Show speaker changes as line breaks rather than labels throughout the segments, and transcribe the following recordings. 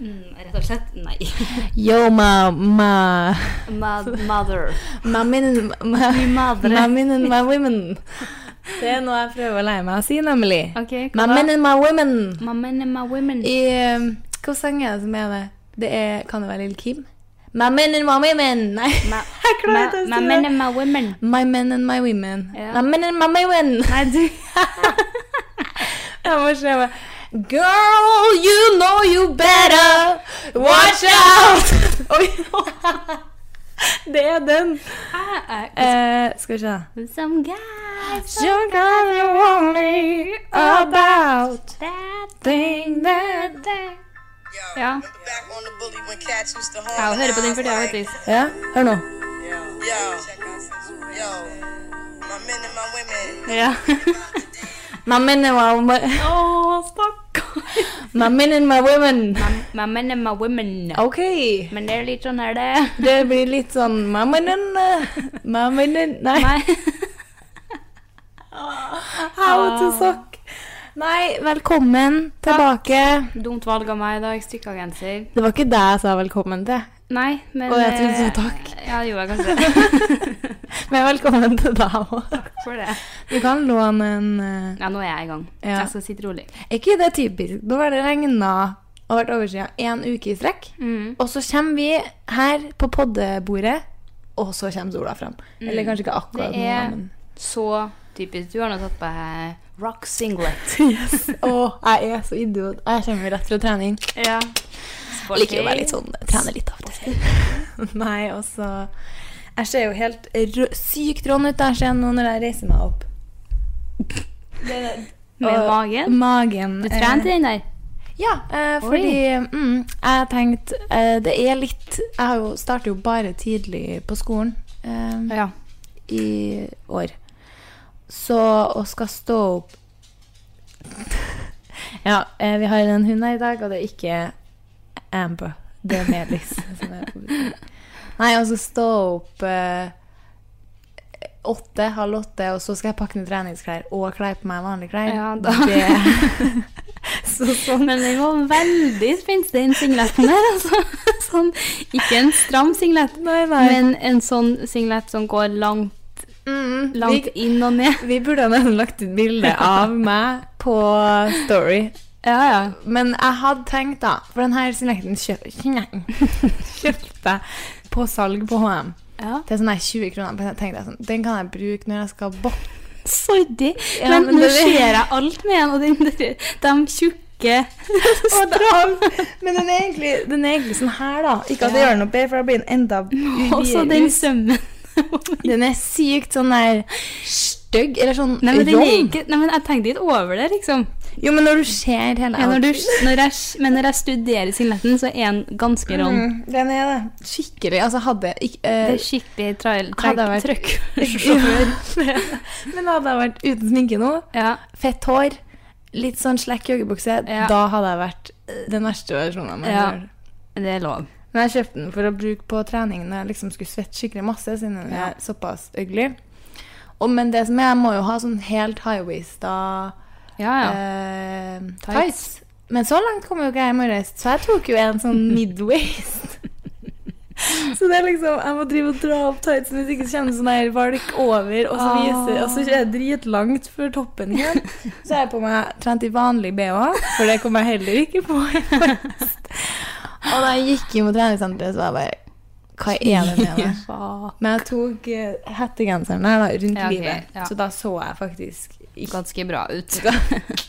Mm, rett og slett nei.
Yo, ma, ma,
Ma mother.
ma, men, ma,
Mi madre.
ma, men and my women. Det er noe jeg prøver å lære meg å si, nemlig.
Ok, hva
my
da?
men and my women.
My men and my women.
I um, Hva sang er det som er det? Det er, Kan det være Lil Kim? My men and my women. Nei,
Ma-
jeg klarer ikke å
ma-
si
My men
det.
and my women.
My men and my women.
Ja.
My men and my women.
Nei, du.
Jeg må se meg. Girl, you know you better. Watch out! Oi. Det er den.
I- I-
Eh, skal vi se.
Some guys
You're gonna worry about
that
thing that
Ja. Ja, høre på den for det, faktisk.
Ja, hør nå.
Ja.
My men and my women.
Å, stakkar.
My men and my women.
My men and my women.
Ok.
Men det er litt sånn her, det.
Det blir litt sånn My men and eh, My men and Nei.
Nei.
How to suck. Nei, velkommen tilbake.
Dumt valg av meg i dag. Strikkegenser.
Det var ikke det jeg sa velkommen til.
Nei, men
Å, jeg trodde
eh,
du sa takk.
Ja, det gjorde jeg kanskje.
Men velkommen til deg òg.
For det.
Du kan låne en eh,
Ja, nå er jeg i gang.
Ja.
Jeg skal sitte rolig.
Er ikke det typisk? Nå har det regna og vært oversida én uke i strekk. Og så kommer vi her på poddebordet, og så kommer sola fram. Eller kanskje ikke
Det
akkurat nå,
er
men
så typisk. Du har nå tatt på deg rock singlet.
Yes. Å, jeg er så idiot. Jeg kommer jo rett fra trening.
Ja.
Jeg liker jo å være litt sånn trene litt av og til. Nei, og så Jeg ser jo helt rø sykt rån ut der ser jeg nå når jeg reiser meg opp.
Med
Og
magen.
Magen.
Du trente
eh,
den der.
Ja, eh, fordi mm, jeg tenkte eh, Det er litt Jeg har jo starter jo bare tidlig på skolen eh,
Ja.
i år. Så og skal stå opp Ja, eh, vi har en hund her i dag, og det er ikke Amber. Det er Melis. som er på besøk. Nei, og så stå opp eh, åtte, halv åtte, og så skal jeg pakke ned treningsklær og klær på meg vanlige klær.
Ja, da.
Det... så sånn.
Men den var veldig spenstig, den singleten der. Altså. Sånn, ikke en stram singlet,
Nei, nei.
men en sånn singlet som går langt,
Mm,
langt
vi,
inn og ned.
vi burde ha nesten lagt ut bilde av meg på Story.
Ja, ja.
Men jeg hadde tenkt, da For denne signekten kjøpte jeg på salg på HM.
Ja.
Til sånn her 20 kroner. Men jeg tenkte sånn, Den kan jeg bruke når jeg skal bokke.
Sorry,
Ja,
men,
men
nå
det-
ser jeg alt med den, og den, der- de tjukke
Stram! Men den er, egentlig, den er egentlig sånn her, da. Ikke at det gjør noe bedre, for da blir den enda
Og så den sømmen.
Den er sykt sånn der stygg. Eller sånn
Nei, men, den er
rond.
ikke, nei, men jeg tenkte ikke over det, liksom.
Jo, men når du ser hele
Ja, når du, når jeg, men når jeg studerer singleten, så er den ganske rond.
Mm, Den er det. Skikkelig. Altså, hadde jeg ikke eh,
Det er skikkelig trail,
Hadde
trail,
jeg vært-
trøkk. sjåfør.
Men hadde jeg vært uten sminke nå,
Ja.
fett hår litt sånn slekk joggebukse,
Ja.
da hadde jeg vært eh, den verste versjonen av meg
Ja.
selv.
Det er lov.
Men jeg kjøpte den for å bruke på trening når jeg liksom skulle svette skikkelig masse, siden den
Ja.
er såpass ugly. Og, men det som er, jeg må jo ha sånn helt high-waista
Ja, ja.
eh, tights.
Tights.
Men så langt kom jo ikke jeg i morges, så jeg tok jo en sånn mid-waist. Så det er liksom, Jeg må drive og dra opp tightsen hvis ikke så kjennes sånn her valk over. Og så,
Ah.
viser, og så er det dritlangt før toppen igjen. Så har jeg på meg trent i vanlig bh, for det kom jeg heller ikke på i morges. Og da jeg gikk inn på treningssenteret, så var jeg bare Hva er det med meg?
Faen.
Men jeg tok eh, hettegenseren her da, rundt
Ja, ok,
livet,
ja.
så da så jeg faktisk ikke
Ganske bra ut.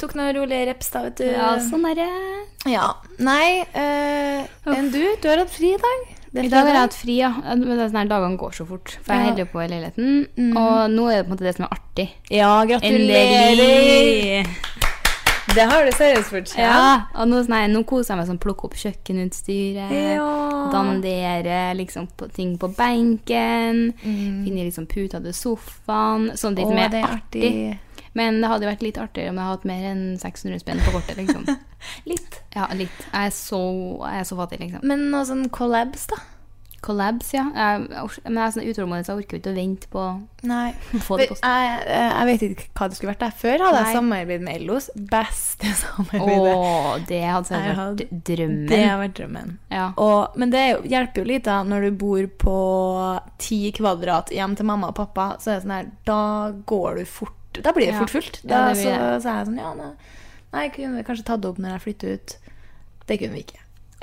Tok noen rolige reps, da, vet du.
Ja, sånn er sånn det.
Ja. Nei, eh, enn du? Du har hatt fri i dag. Det er
I dag har jeg
fredag.
hatt fri, ja. Men det er sånn her, Dagene går så fort. For jeg
Ja. Mm.
holder jo på i leiligheten. Og nå er det på en måte det som er artig.
Ja, gratulerer!
Endelig!
Det har du seriøst fortjent.
Ja, og nå, sånn her, nå koser jeg meg sånn, plukke opp kjøkkenutstyret,
Ja.
dandere liksom, på, ting på benken, finne liksom puta til sofaen, sånne ting
Mm. Å,
som
det
er
er
artig.
artig.
Men det hadde jo vært litt artigere om jeg hadde hatt mer enn 600 spenn på kortet, liksom.
Litt.
Ja, litt. Jeg er så, jeg er så fattig, liksom.
Men noe sånn collabs, da?
Collabs, ja. Jeg, jeg- men jeg er sånn utålmodig, så jeg orker jo ikke å vente på
Nei.
Få
Jeg,
det på-
jeg, eh, jeg vet ikke hva det skulle vært. Der. Før hadde
Nei.
jeg samarbeid med Ellos. Beste samarbeidet.
Å, det hadde så
Jeg
vært
hadde-
drømmen.
Det har vært drømmen.
Ja.
Og, men det er jo- hjelper jo litt da, når du bor på ti kvadrat hjem til mamma og pappa. Så er det sånn her, da går du fort. Da blir det
Ja.
fort fullt. Da,
Ja, det
så,
blir
så er jeg sånn, ja, nei, nei, kunne vi kanskje tatt det opp når jeg flytter ut? Det kunne vi ikke.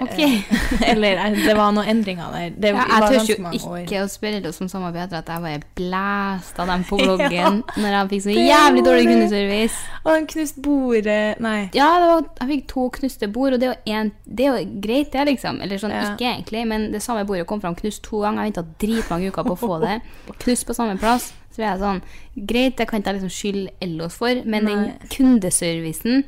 Ok.
Eller nei, det var noen endringer der. Det
Ja,
eh,
jeg
var
tør
ganske mange
jo
år.
ikke å spørre deg som samarbeider at jeg bare blæsta dem på bloggen når jeg fikk så jævlig dårlig
gjorde du.
kundeservice.
Og han knuste bordet eh, Nei.
Ja, det var, jeg fikk to knuste bord, og det er jo, en, det er jo greit, det, liksom. Eller sånn,
Ja.
ikke egentlig, men det samme bordet kom fram knust to ganger. Jeg venta dritmange uker på å få det. Knust på samme plass. Så ble jeg sånn Greit, det kan ikke jeg liksom skylde Ellos for, men den kundeservicen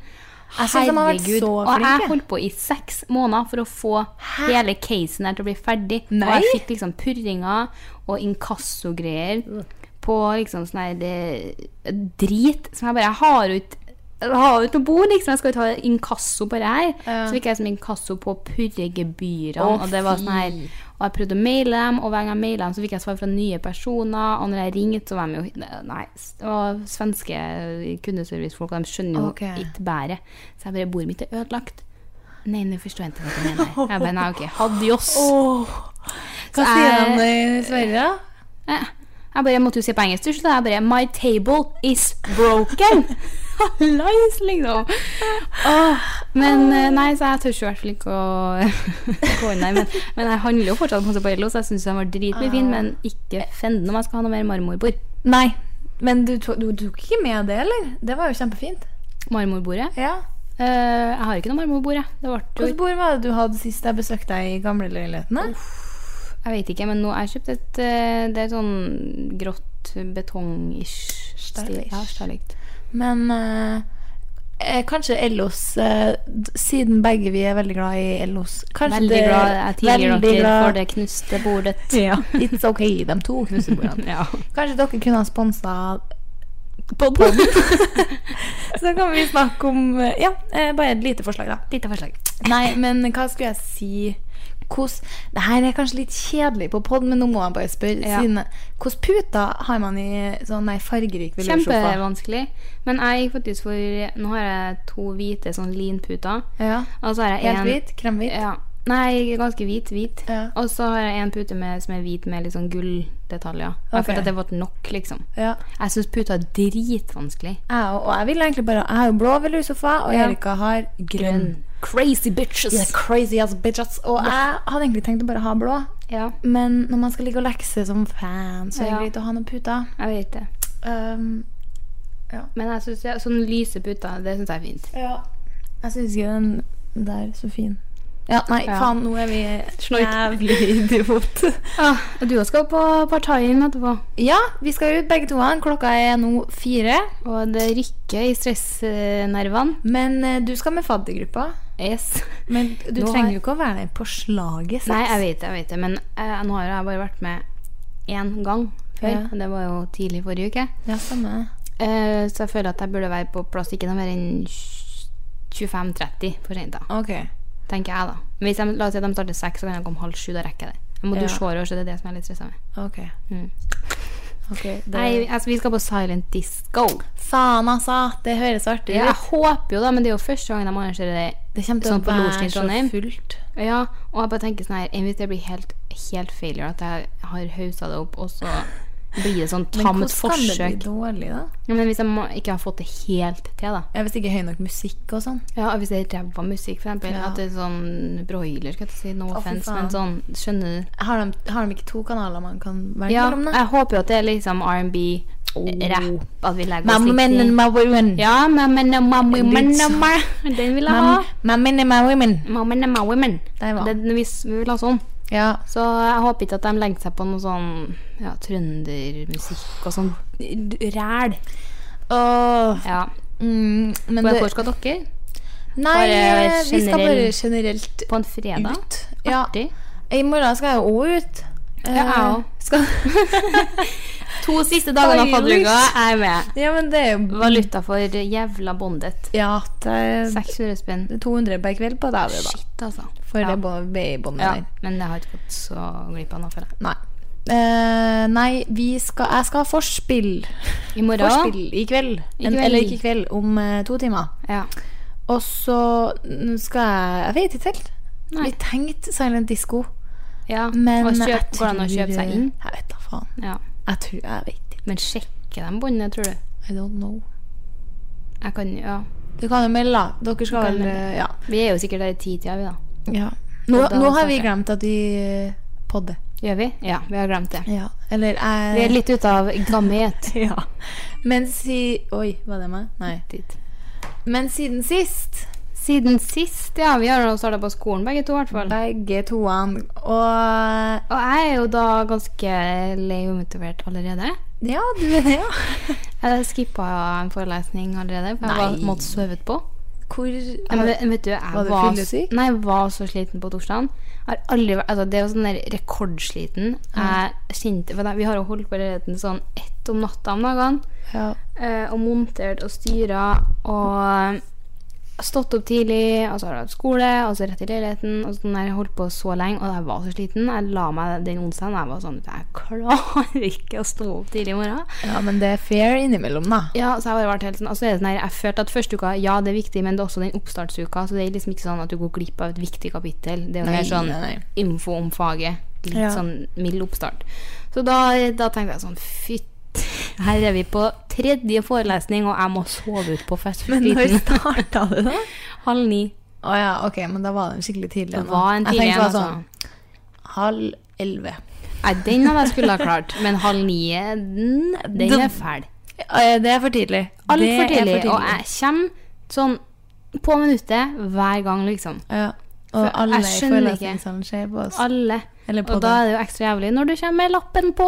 Jeg synes de har vært så
Og jeg
flinke.
holdt på i seks måneder for å få hele casen her til å bli ferdig. Og
Nei.
jeg fikk liksom purringer og inkassogreier på liksom sånn her det- drit som jeg bare Jeg har jo ikke jeg har jo ikke noe bord, liksom. Jeg skal jo ta inkasso på det her. Så fikk jeg som inkasso på purregebyrene.
Å,
Og det var sånn her Og jeg prøvde å maile dem, og hver gang jeg maila dem, så fikk jeg svar fra nye personer. Og når jeg ringte, så var de jo Nei. Og svenske kundeservicefolk, de skjønner jo
Ok.
ikke bæret. Så jeg bare Bordet mitt er ødelagt. Nei, nå forstår jeg ikke hva du mener. Jeg bare Nei, OK. Adios.
Hva
Så
sier
jeg-
han i Sverige, da?
Eh, Jeg bare måtte jo si på engelsk til slutt. Jeg bare My table is broken. Hallais, liksom. Åh, men eh, nei, så jeg tør jo i hvert fall ikke å gå inn der. Men, men jeg handler jo fortsatt masse på Ello, så jeg syns den var dritmye fin, men
Ah.
ikke fenden om jeg skal ha noe mer marmorbord.
Nei. Men du, to- du tok ikke med det, eller? Det var jo kjempefint.
Marmorbordet?
Ja.
Eh, jeg har ikke noe marmorbord, jeg. Det ble
Hvilket
jo
bord var det du hadde sist jeg besøkte deg i gamleleiligheten?
Jeg vet ikke, men nå har jeg kjøpt et eh, Det er sånn grått betong-ish. stil.
Stylish.
Ja, stylish.
Men eh, eh, kanskje Ellos eh, d- Siden begge vi er veldig glad i Ellos kanskje
Veldig
det-
glad jeg tilgir
veldig
dere
glad-
for det knuste bordet.
Ja. It's ok, de to knusebordene.
Ja.
Kanskje dere kunne ha sponsa podden? Så kan vi snakke om eh, Ja, eh, bare et lite forslag, da.
Lite forslag.
Nei, men hva skulle jeg si Hvordan Det her er kanskje litt kjedelig på pod, men nå må jeg bare spørre.
Ja.
Siden, hvordan puter har man i sånn nei, fargerik veloursofa?
Kjempevanskelig. Men jeg gikk faktisk for Nå har jeg to hvite sånn linputer.
Ja.
Og så har jeg
Helt
en-
hvit? Kremhvit?
Ja. Nei, ganske hvit. Hvit.
Ja.
Og så har jeg en pute med, som er hvit med litt sånn gulldetaljer. Jeg
Ok.
følte at det ble nok, liksom.
Ja.
Jeg syns puter er dritvanskelig.
Jeg, og, og jeg vil egentlig bare Jeg har jo blå veloursofa, og
Ja.
Erika har grønn.
Crazy bitches!
Yeah, crazy ass bitches. Og jeg hadde egentlig tenkt å bare ha blå,
Ja,
men når man skal ligge og lekse som fan, så er det
Ja.
greit å ha noen puter.
jeg vet det.
Um,
Men jeg synes, ja, sånn lyse puter, det syns jeg er fint.
Ja. Jeg syns ikke den der er så fin. Ja, nei,
Ja.
faen, nå er vi
Snork.
jævlig idiot.
Ah, og du skal på partaien etterpå.
ja, vi skal ut begge to. han. Klokka er nå fire.
Og det rykker i stressnervene.
Men eh, du skal med faddergruppa.
Yes.
Men du
Nå har-
trenger jo ikke å være der på slaget.
Nei, jeg vet det, jeg vet det. Men eh, nå har jeg bare vært med én gang før.
Ja.
Og det var jo tidlig forrige uke.
Ja, samme.
Eh, så jeg føler at jeg burde være på plass ikke noe mer enn 25-30 for sent, da.
OK.
Tenker jeg, da. Men hvis de, la oss si at de starter seks, så kan jeg komme halv sju. Da rekker jeg det. Jeg må
Ja.
dusje håret, så det er det som jeg er litt stressa med.
ok
Mm.
Ok, det...
Nei, altså, vi skal på silent disco.
Faen, altså! Det høres artig
Jeg
ut.
håper jo, da, men det er jo første gang de arrangerer det,
Det kommer til
sånn på
å
Logen
være
i
så
Trondheim.
fullt.
Ja, og jeg bare tenker sånn her Enn hvis det blir helt, helt failure At jeg har hauset det opp Og så blir det sånn
Men
tamt
hvordan kan det bli
forsøk
dårlig, da?
ja, Men hvis jeg må, ikke har fått det helt til da
Ja, Hvis ikke høy nok musikk og sånn.
Ja, og hvis det er ræva musikk for eksempel
Ja.
At det er sånn broiler, skal jeg ikke si No
fy
offense,
faen.
men sånn Skjønner du?
Har de, har de ikke to kanaler man kan velge
Ja,
mellom? da?
jeg håper jo at det er liksom R&B Rap, at vi legger oss
Oh. Mamma
litt
men
i
my women.
Ja, mamma, mamma, mamma, mamma Den vil jeg ha
Mam- Mamma men my women.
Mamma, mamma, women
Der var den.
Den vi, vi vil ha sånn
Ja.
Så jeg håper ikke at de legger seg på noe sånn ja, trøndermusikk og sånn ræl.
Åh,
Ja.
mm, men
Hvor
det-
skal dere?
Nei, eh,
bare
vi
generell-
skal bare generelt
På en fredag?
ut. Ja.
Artig.
I morgen skal jeg jo òg ut.
Ja, jeg
Eh,
òg. To siste dagene av padlinga er med.
Ja, men det er jo
Valuta for jævla bondet.
Ja, det er
600 spenn.
200 per kveld på deg, det, da.
Shit, altså.
For
ja.
det bå- babybåndet
ja.
der.
Men jeg har ikke gått så glipp av noe, føler jeg.
Nei. Eh, nei, vi skal Jeg skal ha forspill.
I morgen
Forspill i kveld.
I
En,
kveld.
Eller ikke i kveld, om eh, to timer.
Ja.
Og så n- skal jeg Jeg vet ikke helt.
Nei.
Vi tenkte silent disco,
ja.
men
og
jeg
kjøp, går det an å
tror-
kjøpe seg inn?
Jeg vet da faen.
Ja.
Jeg tror Jeg vet ikke.
Men sjekker de båndene, tror du?
I don't know.
Jeg kan, ja.
Du kan jo melde, da. Dere
Du
skal
kan
vel
melde.
eh, ja.
Vi er jo sikkert der i titida, vi, da.
ja. Nå,
Og da
nå har
snakker
vi
jeg.
glemt at vi eh, podder.
Gjør vi? Ja, vi har glemt det.
Ja. Eller jeg
Vi er litt ute av gamhet.
Ja. Men si Oi, var det meg? Nei. Men siden sist,
Siden sist, ja. Vi har jo starta på skolen begge to, i hvert fall.
begge toene, og
Og jeg er jo da ganske lei og umotivert allerede.
Ja, du er det, ja.
Jeg skippa en forelesning allerede, for jeg var,
Nei.
måtte sove på.
Hvor
Men, men vet du, jeg
Var
var,
du fyllesyk?
Nei, jeg var så sliten på torsdagen. Jeg har aldri vært altså, Det var sånn der rekordsliten.
Mm.
Jeg kjente for det- Vi har jo holdt på leiligheten sånn ett om natta om dagene.
ja.
eh, og montert og styra og stått opp tidlig, og så har jeg hatt skole, og så rett i leiligheten. Og sånn der, jeg holdt på så lenge, og jeg var så sliten. Jeg la meg den onsdagen og jeg var sånn Jeg klarer ikke å stå opp tidlig i morgen.
ja, men det er fair innimellom, da.
Ja, så jeg har bare vært helt sånn, og så er det sånn her, jeg følte at første uka, ja, det er viktig, men det er også den oppstartsuka, så det er liksom ikke sånn at du går glipp av et viktig kapittel. Det er jo
Nei,
mer sånn
nei, nei.
info om faget. Litt
Ja.
sånn mild oppstart. Så da, da tenkte jeg sånn, fytt, her er vi på tredje forelesning, og jeg må sove ut på fest.
Men når starta det, da?
Halv ni.
Å ja, ok, men da var den skikkelig tidlig.
Det
nå.
var en tidlig
Jeg
en,
tenkte det var
altså.
sånn halv elleve.
Nei, den hadde jeg skulle ha klart, men halv ni, den, den er fæl.
Eh, Det er for tidlig.
Alt
Det er
for tidlig, og jeg kommer sånn på minuttet hver gang, liksom.
ja. og
For
alle
jeg
i
skjønner ikke.
forelesningssalen ser på oss.
Alle.
Eller på
Og da
det.
er det jo ekstra jævlig når du kommer med lappen på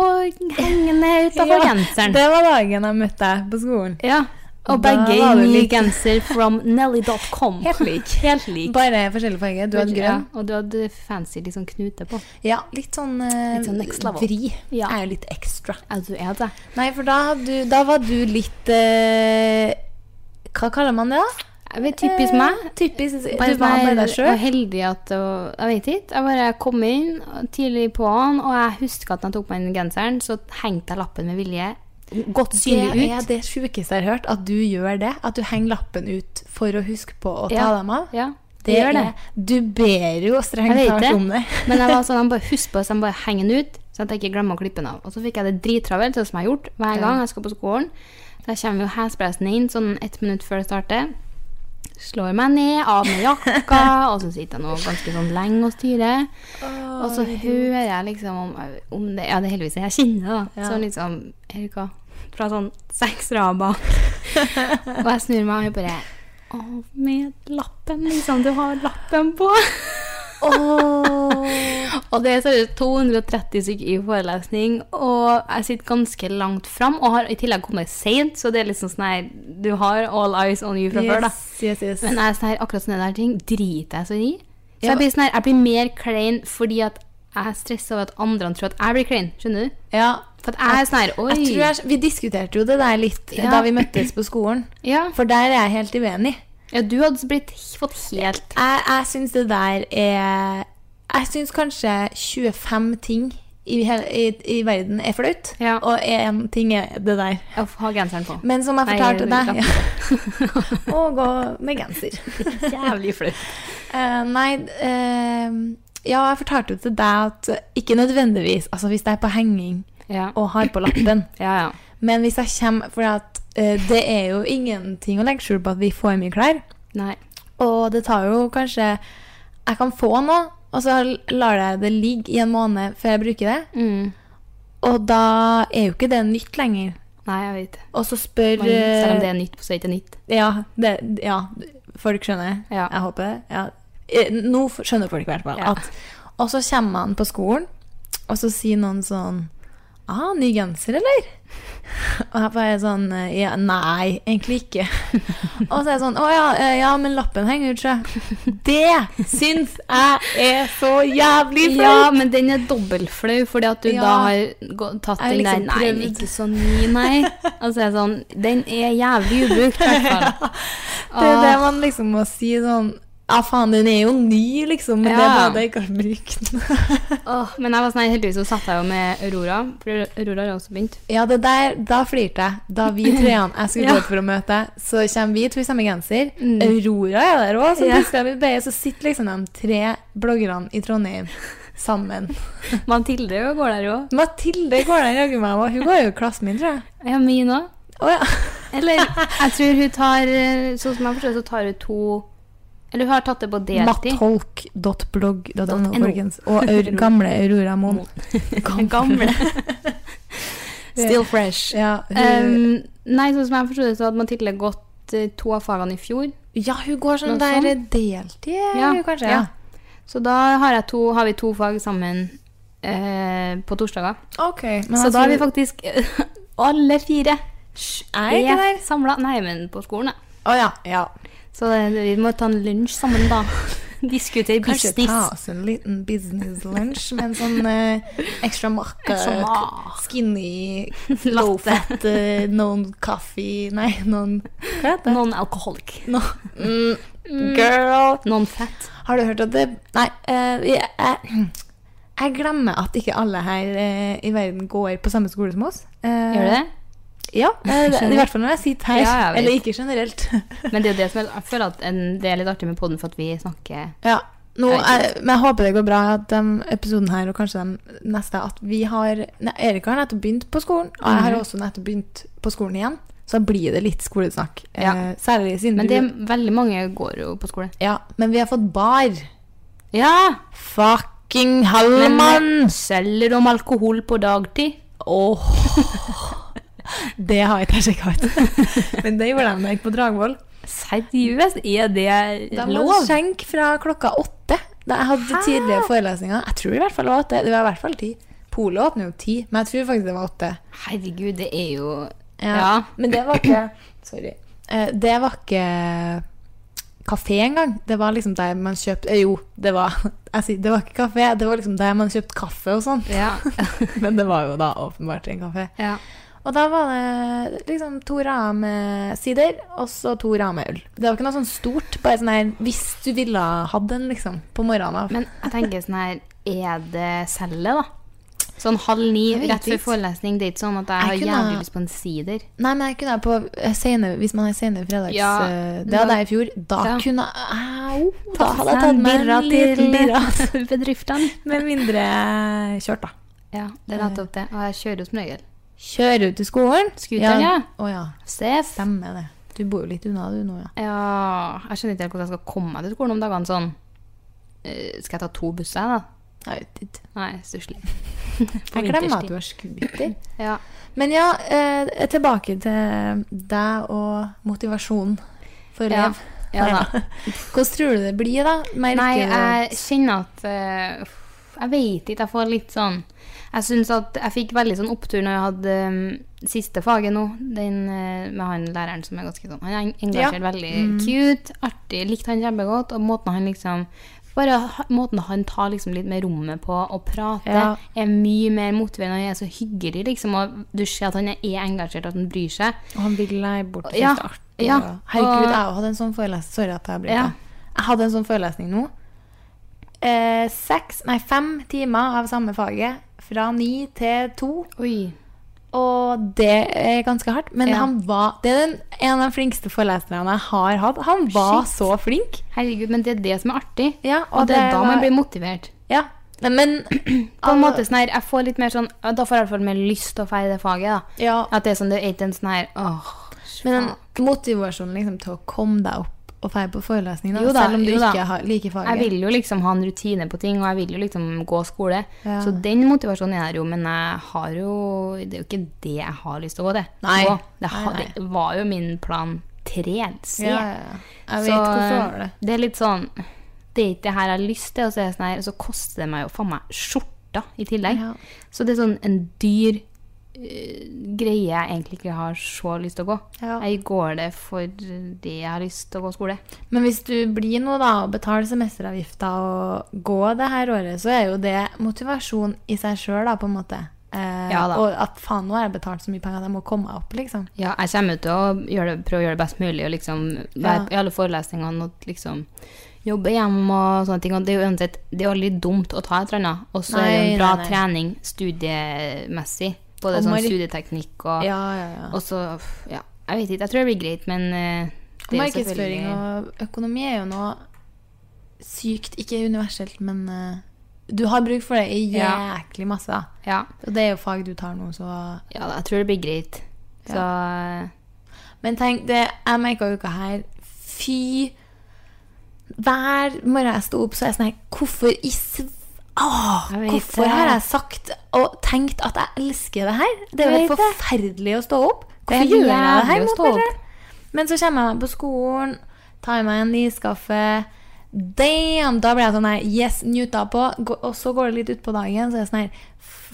hengende utafor
Ja,
genseren.
Det var dagen jeg møtte deg på skolen.
Ja. Og
Da
begge
var
i
du
ny
lik.
genser from nelly.com.
Helt lik.
Helt lik.
Bare forskjellig farge. Du hadde grønn.
Ja, og du hadde fancy liksom knute på.
Ja, litt sånn, eh,
Litt sånn next level.
vri.
Ja.
Er jo litt ekstra.
Ja, du er det.
Nei, for da, hadde du, da var du litt eh, Hva kaller man det, da?
Jeg vet, typisk meg.
Eh, Typisk, du
Bare sånn
var bare deg
Og
sjøl.
heldig at det var- Jeg vet ikke. Jeg bare kom inn tidlig på han, og jeg husker at når jeg tok på meg den genseren, så hengte jeg lappen med vilje godt synlig
Det
ut.
er det sjukeste jeg har hørt, at du gjør det. At du henger lappen ut for å huske på å ta
Ja.
dem av.
Ja, det, gjør det.
er- Du ber jo
Jeg
strengt
vet
talt
det.
om det.
Men jeg var sånn, han bare husk på, så han bare henger den ut, så at jeg ikke glemmer å klippe den av. Og så fikk jeg det drittravelt, sånn som jeg har gjort hver gang jeg skal på skolen. Der kommer jo hesbreisen inn sånn ett minutt før det starter. Slår meg ned, av med jakka, og så sitter jeg nå ganske sånn lenge og styrer. Og så hører jeg liksom om, om det Ja, det er heldigvis jeg kjenner, da. Så liksom Erika fra sånn seks rader bak. og jeg snur meg og jeg bare Av med lappen, liksom. Du har lappen på. Og det er seriøst 230 stykker i forelesning, og jeg sitter ganske langt fram, og har i tillegg kommet sent, så det er liksom sånn her Du har all eyes on you fra før, da.
yes, yes.
Men jeg er sånn her, akkurat sånne der ting driter jeg så i. Så
Ja.
jeg blir sånn her, jeg blir mer klein fordi at jeg stresser over at andre tror at jeg blir klein. Skjønner du?
Ja.
For at jeg er sånn her Oi.
Jeg tror jeg, vi diskuterte jo det der litt
Ja.
da vi møttes på skolen.
ja.
For der er jeg helt uenig.
ja, du hadde blitt fått helt
Jeg, jeg syns det der er Jeg syns kanskje 25 ting i, hele, i, i verden er flaut,
Ja.
og én ting er det der.
Å ha genseren på.
Men som jeg fortalte
Nei,
deg Å gå med genser.
Jævlig flaut.
Eh, nei eh, Ja, jeg fortalte jo til deg at ikke nødvendigvis Altså hvis jeg er på henging
Ja.
og har på lappen,
ja, ja.
men hvis jeg kommer For at, eh, det er jo ingenting å legge skjul på at vi får mye klær.
Nei.
Og det tar jo kanskje Jeg kan få noe, og så lar jeg det ligge i en måned før jeg bruker det.
Mm.
Og da er jo ikke det nytt lenger.
Nei, jeg vet.
Og så spør
Man, selv om
eh,
det er nytt, så er det ikke nytt.
Ja, det, ja folk skjønner.
Ja.
Jeg håper det. Ja. Eh, Nå f- skjønner folk i hvert fall
Ja.
at Og så kommer man på skolen, og så sier noen sånn Ah, ny genser, eller? Og jeg bare sånn eh, ja, Nei, egentlig ikke. Og så er jeg sånn Å ja, eh, ja men lappen henger ut, sjø. Det syns jeg er så jævlig
Ja,
flaut!
men den er dobbeltflau, fordi at du
Ja.
da har gå- tatt
Jeg har
den der
liksom
Nei,
prøvd.
ikke så ny, nei. Altså, jeg er sånn, den er jævlig ubrukt, i hvert fall.
Det er det
Ah.
man liksom må si sånn Ja, faen, den er jo ny, liksom, men det er
Ja.
bare at jeg ikke har brukt den.
Åh, men jeg var sånn, her, heldigvis så satt jeg jo med Aurora, for Aurora har også begynt.
Ja, det der, da flirte jeg. Da vi treene jeg skulle
Ja. Mm.
gå ut for å møte deg, så kommer vi to i samme genser. Aurora er der òg, så
Ja.
plutselig er vi begge, så sitter liksom de tre bloggerne i Trondheim sammen.
Mathilde jo går der jo.
Mathilde går der jaggu meg òg. Hun går jo i klassen min, tror jeg.
Ja, min også.
Å ja.
Eller, jeg tror hun tar, eh, sånn som jeg forstår, så tar hun to, eller hun har tatt det på deltid.
Mattolk.blogg.no,
.no.
folkens. Og aur, gamle Aurora Moen.
Gamle.
Still fresh. Ja, hun,
Um, nei, sånn som jeg forstår det, så hadde Mathilde gått eh, to av fagene i fjor.
ja hun går sånn
noe
der
sånn.
deltid,
Ja,
hun kanskje.
ja. Så da har, jeg to, har vi to fag sammen eh, på torsdager.
Ok. Men
Så
jeg
da har vi
tror-
faktisk alle fire
Er ikke der?
samla. Nei, men på skolen, ja.
Å ja. ja.
Så det, vi må ta en lunsj sammen, da. Diskutere
Kanskje ta
business.
oss en liten business lunch med en sånn eh, ekstra makka,
Ekstra mak.
skinny,
Latte.
low-fat, eh, noen kaffe Nei, noen Hva heter det?
Non-alcoholic.
No. Mm, girl!
Non-fat.
Har du hørt at det Nei, eh, jeg, jeg, jeg glemmer at ikke alle her eh, i verden går på samme skole som oss. Eh,
Gjør du det?
Ja. eh,
Skjønner.
I hvert fall når jeg sitter her.
Ja, jeg vet.
Eller ikke generelt.
Men det er jo det som jeg, jeg føler at en, det er litt artig med poden, for at vi snakker
Ja. Nå,
Jeg vet
jeg, men jeg håper det går bra at den episoden her og kanskje den neste at vi har ne, Erik har nettopp begynt på skolen, og jeg
Mhm.
har også nettopp begynt på skolen igjen. Så da blir det litt skolesnakk.
Ja.
Eh, særlig siden
Men det,
du
veldig mange går jo på skole.
Ja, men vi har fått bar.
Ja!
Fucking
Men
Hallmann!
selger de alkohol på dagtid?
Åh det har jeg ikke sjekka ut. men det gjorde de da jeg gikk på Dragvoll.
Seriøst, er det
Da må
lov?
du skjenke fra klokka åtte. Da jeg hadde tidlige forelesninger. Jeg tror i hvert fall det var åtte. Det var i hvert fall ti. Polet åpner jo ti, men jeg tror faktisk det var åtte.
Herregud, det er jo Ja.
Men det var ikke Sorry. Eh, Det var ikke kafé engang. Det var liksom der man kjøpte eh, Jo, det var jeg sier, Det var ikke kafé, det var liksom der man kjøpte kaffe og sånn.
Ja.
Men det var jo da åpenbart en kafé.
ja.
Og da var det liksom to rader med sider, og så to rader med øl. Det var ikke noe sånn stort, bare sånn her hvis du ville ha den, liksom, på morgenen av.
Men jeg tenker sånn her Er det celle, da? Sånn halv ni
Jeg vet
rett før
ikke.
forelesning. Det er ikke sånn at jeg,
Jeg
har
kunne-
jævlig lyst på en sider.
Nei, men jeg kunne ha på eh, sene, hvis man har sene fredags...
Ja,
eh, det
da-
hadde jeg i fjor. Da
Ja.
kunne jeg... Au, da hadde jeg tatt meg en liten birra.
bedriftene.
Med mindre kjørt, da.
Ja, det er nettopp det. Og jeg kjører jo som regel.
Kjøre ut til skolen.
Scooteren, ja.
Å ja,
Steff.
stemmer det. Du bor jo litt unna du nå, ja.
Ja Jeg skjønner ikke helt hvordan jeg skal komme meg til skolen om dagene sånn. Eh, Skal jeg ta to busser, da?
Jeg vet ikke.
Nei, stusslig. På
Jeg glemmer at
vinterstid.
du har scooter.
Ja.
Men ja, eh, tilbake til deg og motivasjonen for
Ja.
elev.
ja da.
Hvordan tror du det blir, da? Merker
Nei,
du at-
jeg kjenner at eh, uff, Jeg vet ikke. Jeg får litt sånn Jeg synes at jeg fikk veldig sånn opptur når jeg hadde eh, siste faget nå. Den eh, med han læreren som
Mm.
er ganske sånn Han er engasjert veldig cute, artig. Likte han kjempegodt. Og måten han liksom Bare ha- måten han tar liksom litt mer rommet på og prater,
Ja.
er mye mer motiverende. Han er så hyggelig, liksom. Og du ser at han er engasjert, at han bryr seg.
Og han blir lei bort.
Ja,
Ja. Artig,
ja,
og- Herregud,
og-
jeg hadde en sånn forelesning. Sorry at jeg blir
Ja.
det. Jeg hadde en sånn forelesning nå. Eh, seks, nei, fem timer av samme faget. Fra ni til to.
Oi.
Og det er ganske hardt. Men
Ja.
han var, det er den, en av de flinkeste foreleserne jeg har hatt. Han var
Shit.
så flink.
Herregud, men det er det som er artig.
Ja,
og,
og
det er
det
da
var-
man blir motivert.
Ja. Men
På en måte sånn her, jeg får litt mer sånn ja, Da får jeg i hvert fall mer lyst til å feire det faget, da.
Ja.
At det er sånn, det er ikke en sånn her åh,
Men den motivasjonen liksom, til å komme deg opp og feire på forelesning, da,
Jo da,
selv om du
jo da.
ikke har, liker faget
Jeg vil jo liksom ha en rutine på ting, og jeg vil jo liksom gå skole.
Ja.
Så den motivasjonen er der jo, men jeg har jo Det er jo ikke det jeg har lyst til å gå til.
Nei.
Gå. Det, ha-
Nei, nei.
det var jo min plan 3 C.
Ja, ja, ja. Jeg
Så, eh,
vet hvorfor du har det.
det er litt sånn Det er ikke det her jeg har lyst til, og så, er det sånn her, og så koster det meg jo faen meg skjorta i tillegg.
Ja.
Så det er sånn en dyr eh, greie jeg egentlig ikke har så lyst til å gå.
Ja.
Jeg går det fordi jeg har lyst til å gå skole.
Men hvis du blir noe da, og betaler semesteravgifta og går det her året, så er jo det motivasjon i seg sjøl, da, på en måte. Eh,
Ja da.
Og at faen, nå har jeg betalt så mye penger, jeg må komme meg opp, liksom.
Ja, jeg kommer til å gjøre det, prøve å gjøre det best mulig og liksom være
Ja.
i alle forelesningene og liksom jobbe hjemme og sånne ting. Og det er jo uansett det er jo aldri dumt å ta et eller annet. Og så er det jo
Nei,
en bra
nei, nei.
trening studiemessig. Både
Og
sånn
Mari-
studieteknikk og
Ja, ja, ja.
Og så f- Ja, jeg vet ikke. Jeg tror det blir greit, men eh, det er jo
Markedsføring
selvfølgelig-
og økonomi er jo noe sykt Ikke universelt, men eh, du har bruk for det i
Ja.
jæklig masse. da.
ja,
Og det er jo fag du tar nå, så
ja, jeg tror det blir greit. Så
Men tenk, det, jeg merka uka her Fy Hver morgen jeg sto opp, så er jeg sånn her Hvorfor i sv... Åh,
Jeg vet
hvorfor
det.
har jeg sagt og tenkt at jeg elsker det her? Det er jo
Jeg
helt
vet det.
forferdelig å stå opp.
Det er
Hvorfor gjør jeg det
jævlig
her
å
mot
stå
meg
opp.
selv? Men så kommer jeg meg på skolen, tar meg en iskaffe Damn! Da blir jeg sånn her Yes, njuta på. Gå- Og så går det litt utpå dagen, så er jeg sånn her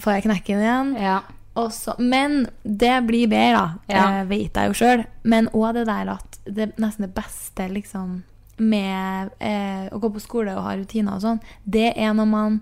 Får jeg knekken igjen?
ja.
Og så- men det blir bedre, da.
Ja.
Eh, vet jeg jo sjøl. Men òg det der at det nesten det beste liksom, med eh, å gå på skole og ha rutiner og sånn, det er når man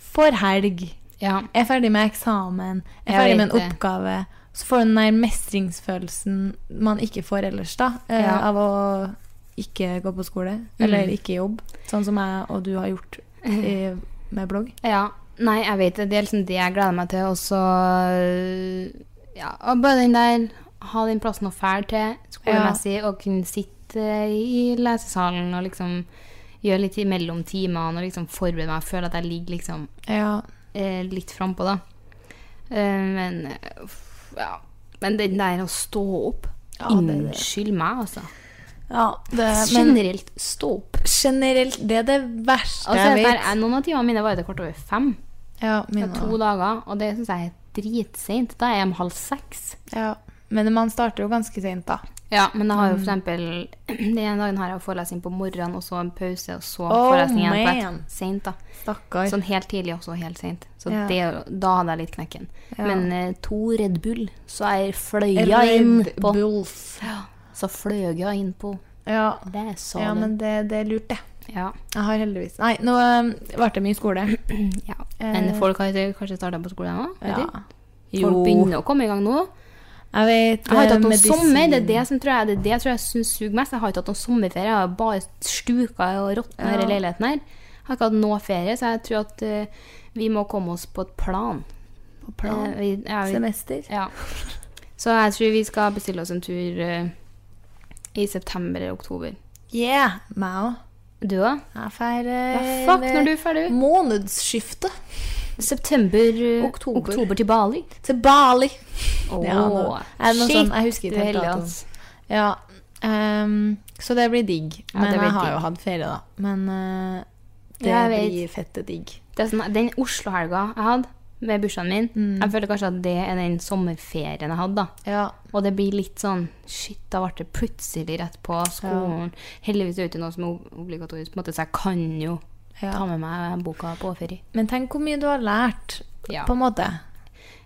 får helg,
ja.
er ferdig med eksamen, er
Jeg
ferdig
vet
med en
det.
oppgave. Så får du den der mestringsfølelsen man ikke får ellers, da. Eh,
Ja. Mm.
Av å ikke gå på skole, eller ikke jobbe. Sånn som jeg og du har gjort i, med blogg.
Ja. Nei, jeg vet det. Det er liksom det jeg gleder meg til. Og så eh, Ja, og bare den der Ha den plassen å fære til skolemessig, og kunne sitte eh, i lesesalen og liksom gjøre litt imellom timene og liksom forberede meg. Føle at jeg ligger liksom
Ja.
eh, litt frampå, da. Eh, men eh, uff, ja. Men den der å stå opp
Ja, det er det.
Unnskyld meg, altså.
ja det, men
Generelt stå opp.
generelt Det er det verste
Altså,
jeg
der,
vet.
er- noen av timene mine var det kvart over fem.
Ja,
Det
mine
er to
også.
dager, og det syns jeg er dritseint. Da er jeg om halv seks.
ja. Men man starter jo ganske sent, da.
Ja, men jeg har jo for
Mm.
eksempel Den ene dagen har jeg forelesning på morgenen, og så en pause, og så
Oh,
forelesning igjen på
man.
ett. Seint, da.
Stakkar.
Sånn helt tidlig også, helt seint. Så
Ja.
det, da hadde jeg litt knekken.
Ja.
Men eh, to Red Bull, så jeg fløy jeg inn
Red
på
Bulls.
Så fløy jeg inn på
Ja.
det, sa
ja,
du.
men det, det er lurt, det.
Ja.
Jeg har heldigvis Nei, nå øhm, ble det mye skole.
ja. Men
Eh.
folk har ikke- kanskje starta på skolen nå? vet
Ja.
du? Folk begynner å komme i gang nå.
Jeg vet um,
Jeg har ikke hatt noen
medisin.
sommer. Det er det som tror jeg, det er det jeg tror jeg syns suger mest. Jeg har ikke hatt noen sommerferie. Jeg har bare stuka og råtna i
Ja.
denne leiligheten her. Jeg har ikke hatt noe ferie, så jeg tror at eh, vi må komme oss på et plan.
På plan.
Eh, vi- ja, vi-
Semester.
Ja. Så jeg tror vi skal bestille oss en tur eh, i september eller oktober.
Yeah! Meg òg.
Du òg?
Jeg drar
Ja,
Eh,
fuck, når du er ferdig?
Månedsskiftet.
September eh,
Oktober.
oktober til Bali.
Til Bali.
Åh,
Ja, nå- er det noe sånn- jeg husker ikke
du er
helt altså.
heldig,
datoen.
ass.
Ja, ehm, så det blir digg.
Ja,
Men
det blir
jeg har
digg.
jo hatt ferie, da. Men eh, det
Ja, jeg vet.
blir fette digg.
Det er sånn, den Oslo-helga jeg hadde med bursdagen min,
Mm.
jeg føler kanskje at det er den sommerferien jeg hadde. da.
Ja.
Og det blir litt sånn Shit, da ble det plutselig rett på skolen. Heldigvis er det ikke noe som er ob- obligatorisk, på en måte, så jeg kan jo
Ja.
ta med meg boka på ferie.
Men tenk hvor mye du har lært,
Ja.
på en måte.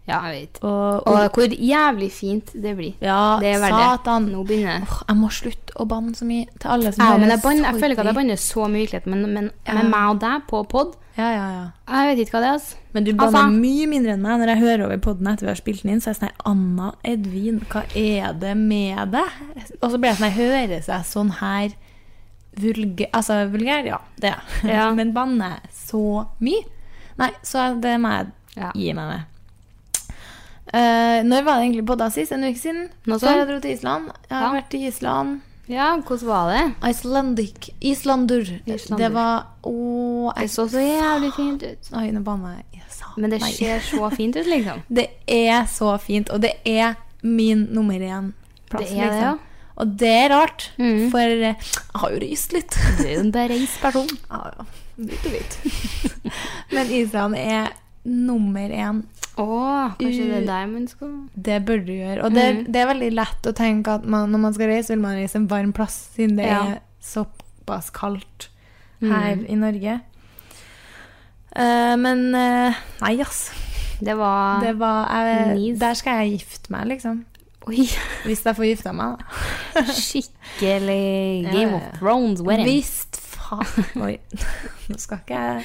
Ja, jeg vet.
Og,
Og hvor jævlig fint det blir.
Ja,
det er verdt det.
satan.
Nå begynner jeg.
Åh, jeg må slutte å banne så mye til alle som
Ja, men
hører
jeg, banner, jeg
sorry.
føler ikke at jeg banner så mye i virkeligheten, men, men med meg og deg på pod
Ja, ja, ja.
Jeg vet ikke hva det er. Altså.
Men du banner
Altså-
mye mindre enn meg når jeg hører over podden etter vi har spilt den inn. Så er jeg sånn her Anna Edvin, hva er det med deg? Og så blir jeg sånn her Høres jeg sånn her vulgær Altså vulgær, ja. Det er jeg.
Ja.
Men banner jeg så mye? Nei, så det må jeg
Ja.
gi meg med. Eh, når var det egentlig podda sist? En uke siden?
Noe
Før jeg
sånt.
dro til Island. Jeg har
Ja.
vært i Island.
Ja, hvordan var det?
Icelandic. Islander.
Islander.
Det var Å,
Det
jeg
så så jævlig fint ut.
Oi, nå banner jeg. jeg. sa
Men det
nei.
ser så fint ut, liksom.
Det er så fint, og det er min nummer én plass. liksom.
Det er det, ja.
Og det er rart,
Mm.
for eh, jeg har jo røyst litt.
Du er jo en bereist person.
Ja, ja. Litt og litt. Men Island er nummer én.
Å, kanskje det er der man skal
Det bør du gjøre. Og det,
Mm.
det er veldig lett å tenke at man, når man skal reise, vil man reise en varm plass, siden det
Ja. Mm.
er såpass kaldt her i Norge. Eh, men eh, nei, ass.
Det var
Det var, jeg,
Nice.
der skal jeg gifte meg, liksom.
Oi,
Hvis jeg får gifta meg, da.
skikkelig
Ja,
Game
ja,
of
ja.
Thrones wedding.
Visst faen Oi, nå skal ikke jeg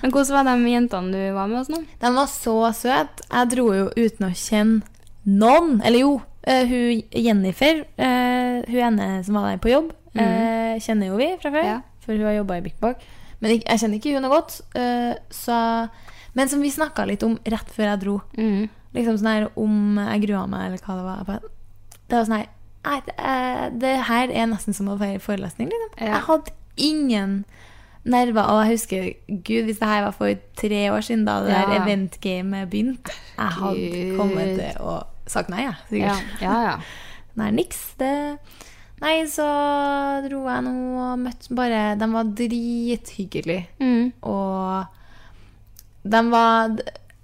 Men hvordan var de jentene du var med oss nå?
De var så søte. Jeg dro jo uten å kjenne noen. Eller jo, eh, hun Jennifer, eh, hun ene som var der på jobb, eh, kjenner jo vi fra før.
Mhm. Ja.
For hun har jobba i Big Bag. Men ik- jeg kjenner ikke hun noe godt. eh, så, men som vi snakka litt om rett før jeg dro.
Mm.
Liksom sånn her om jeg grua meg, eller hva det var. Jeg bare- Det var sånn her Nei, det, eh, det her er nesten som å være i forelesning, liksom.
Ja.
Jeg hadde ingen nerver. Og jeg husker Gud, hvis det her var for tre år siden, da det
Ja.
der eventgamet begynte Jeg hadde
Gud.
kommet til å sagt nei, jeg. Sikkert.
Ja, ja, ja.
Nei, niks. Det Nei, så dro jeg nå og møtte bare De var drithyggelige.
Mm.
Og de var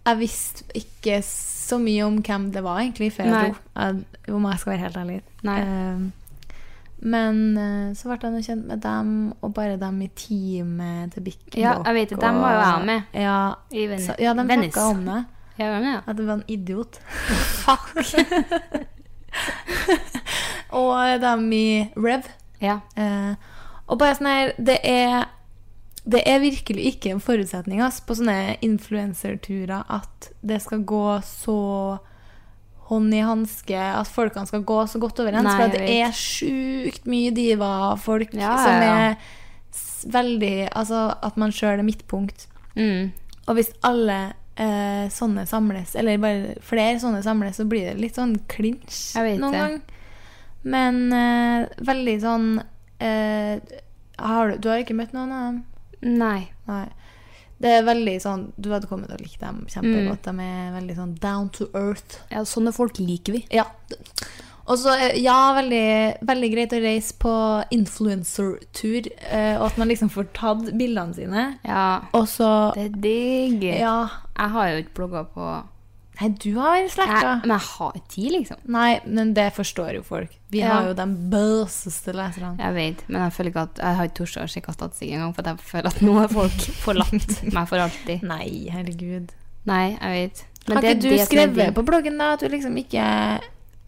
Jeg visste ikke så mye om hvem det var, egentlig, før
Nei.
jeg dro. Jeg- Om jeg skal være helt ærlig.
Nei.
Eh, Men eh, så ble jeg nå kjent med dem, og bare dem i teamet til Bik.
Ja, jeg vet det. Dem var jo jeg med.
Ja,
I Ven-
så, ja de
Venice.
snakka om det.
Ja, hvem er det?
At det var en idiot. Fuck! og dem i Rev.
Ja.
Eh, og bare sånn her, det er det er virkelig ikke en forutsetning ass, på sånne influenserturer at det skal gå så hånd i hanske, at folkene skal gå så godt overens.
Nei,
for at
jeg
det
vet.
er sjukt mye divaer og folk
Ja, ja,
som
ja.
er s- veldig Altså at man sjøl er midtpunkt.
Mm.
Og hvis alle eh, sånne samles, eller bare flere sånne samles, så blir det litt sånn klinsj
Jeg vet
noen
det.
gang. Men eh, veldig sånn eh, har du, du har ikke møtt noen av dem?
Nei.
Nei. Det er veldig sånn Du hadde kommet til å like dem kjempegodt.
Mm.
De er veldig sånn down to earth.
Ja, sånne folk liker vi.
Ja. Og så, eh, ja, veldig, veldig greit å reise på influencer-tur, eh, og at man liksom får tatt bildene sine.
Ja,
Og så
det er digg.
Ja.
Jeg har jo ikke blogga på
Nei, du har
jeg,
slekta.
Men jeg har ikke tid, liksom.
Nei, men det forstår jo folk. Vi
Ja.
har jo de bøseste leserne.
Jeg vet, men jeg føler ikke at Jeg har ikke tort å sjekke statistikk engang, for at jeg føler at nå har folk forlatt meg for alltid.
Nei, herregud.
Nei, jeg vet.
har
det er
ikke du
det som er
skrevet
digg.
på bloggen da at du liksom ikke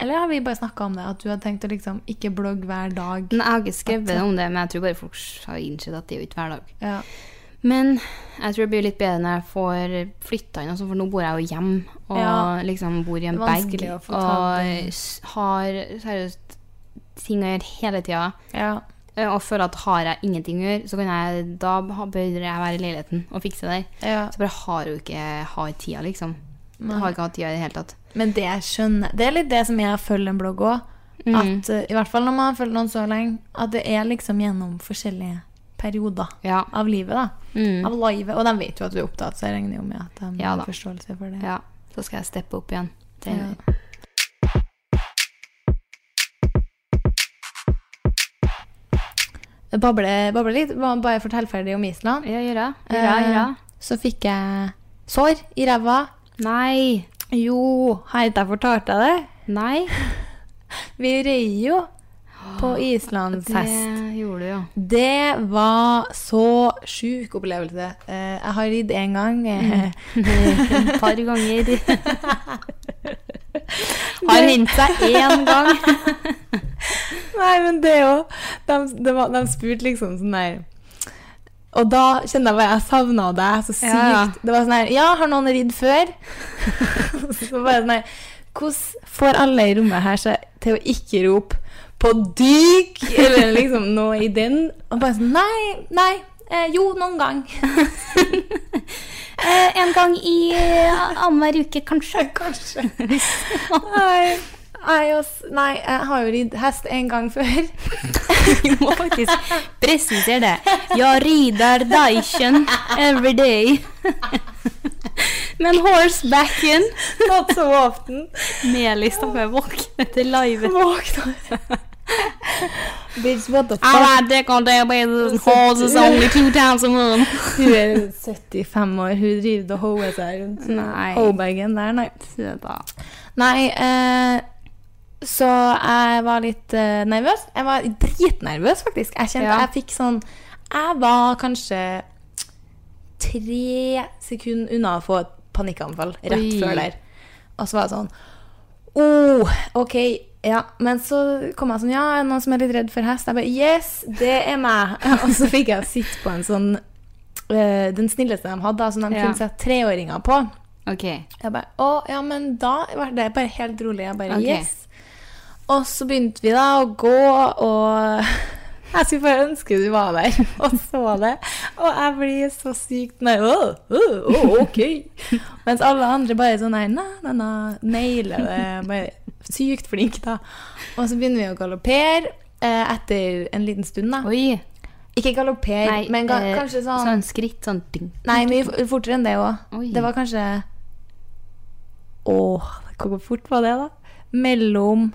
Eller har vi bare snakka om det? At du hadde tenkt å liksom ikke blogge hver dag?
Nei, Jeg har ikke skrevet om det, men jeg tror bare folk har innsett at det er jo ikke hver dag.
Ja.
Men jeg tror det blir litt bedre når jeg får flytta inn, og sånn, for nå bor jeg jo hjemme. Og
Ja.
liksom bor i en
Det er
bag.
vanskelig å få tatt
Og s- har seriøst ting å gjøre hele tida.
ja.
eh, Og føler at har jeg ingenting å gjøre, så kan jeg, da ha- bør jeg være i leiligheten og fikse det der.
ja.
Så bare har jo ikke har tida, liksom. Jeg har ikke hatt tida i det hele tatt.
Men det jeg skjønner Det er litt det som jeg følger en blogg òg.
Mm.
At eh, I hvert fall når man har fulgt noen så lenge. At det er liksom gjennom forskjellige perioder
Ja. Mm.
av livet. da Av livet. Og de vet jo at du er opptatt, så jeg regner jo med at de
Ja da.
har forståelse for det.
ja. Så skal jeg steppe opp igjen. Det,
Ja. Bable, bable litt. Bare bare fortell ferdig om Island.
Ja, gjør jeg. Gjør jeg, gjør jeg.
Eh, Så fikk jeg sår i ræva.
Nei.
Jo, har ikke jeg fortalt deg det?
Nei.
Vi røy jo. på islandshest.
Det gjorde du, ja.
Det var så sjuk opplevelse. Eh, Jeg har ridd én gang. eh,
Et par ganger. Har hendt seg én gang.
Nei, men det òg. De, det var- de spurte liksom sånn der Og da kjente jeg bare jeg savna deg så sykt.
Ja, ja.
Det var sånn her Ja, har noen ridd før? så bare sånn her Hvordan får alle i rommet her seg til å ikke rope 'på dyk' eller liksom noe i den? Og bare sånn Nei, nei. Eh, jo, noen gang.
Eh, En gang i eh, annenhver uke, kanskje.
Kanskje. Nei, nei, ass, nei, jeg har jo ridd hest en gang før.
Vi må faktisk presentere det. Jeg rider Dyson every day. Men horsebacken
Not so often.
Med-lista før jeg våkner til live.
Våkna Bitch, what the
I
fuck?
ride dick all day, but it's horses only two times a month.
Hun er 75 år, hun driver og hoer seg rundt.
Nei.
Hobergen der, nei.
Søta.
Nei, eh, så jeg var litt eh, nervøs. Jeg var dritnervøs, faktisk. Jeg kjente
Ja.
jeg fikk sånn Jeg var kanskje tre sekunder unna å få et panikkanfall rett
Oi.
før der. Og så var jeg sånn Oh, ok. Ja, men så kom jeg sånn Ja, er det noen som er litt redd for hest? Jeg bare Yes, det er meg! Og så fikk jeg sitte på en sånn eh, Den snilleste de hadde, da, som de
Ja.
kunne sette treåringer på.
Ok.
Jeg bare, å, ja, men da var det bare helt rolig. Jeg bare,
Ok.
yes. Og så begynte vi da å gå, og jeg skulle bare ønske du var der og så det. Og jeg blir så sykt nei, å, å, å, ok. Mens alle andre bare sånn her, na, na, na, nailer det. Bare sykt flink da. Og så begynner vi å galoppere eh, etter en liten stund da.
Oi.
Ikke galoppere, men ga,
eh,
kanskje sånn...
Sånn skritt, sånn ding.
Nei, mye f- fortere enn det òg.
Oi.
Det var kanskje Åh, hvor fort var det, da? Mellom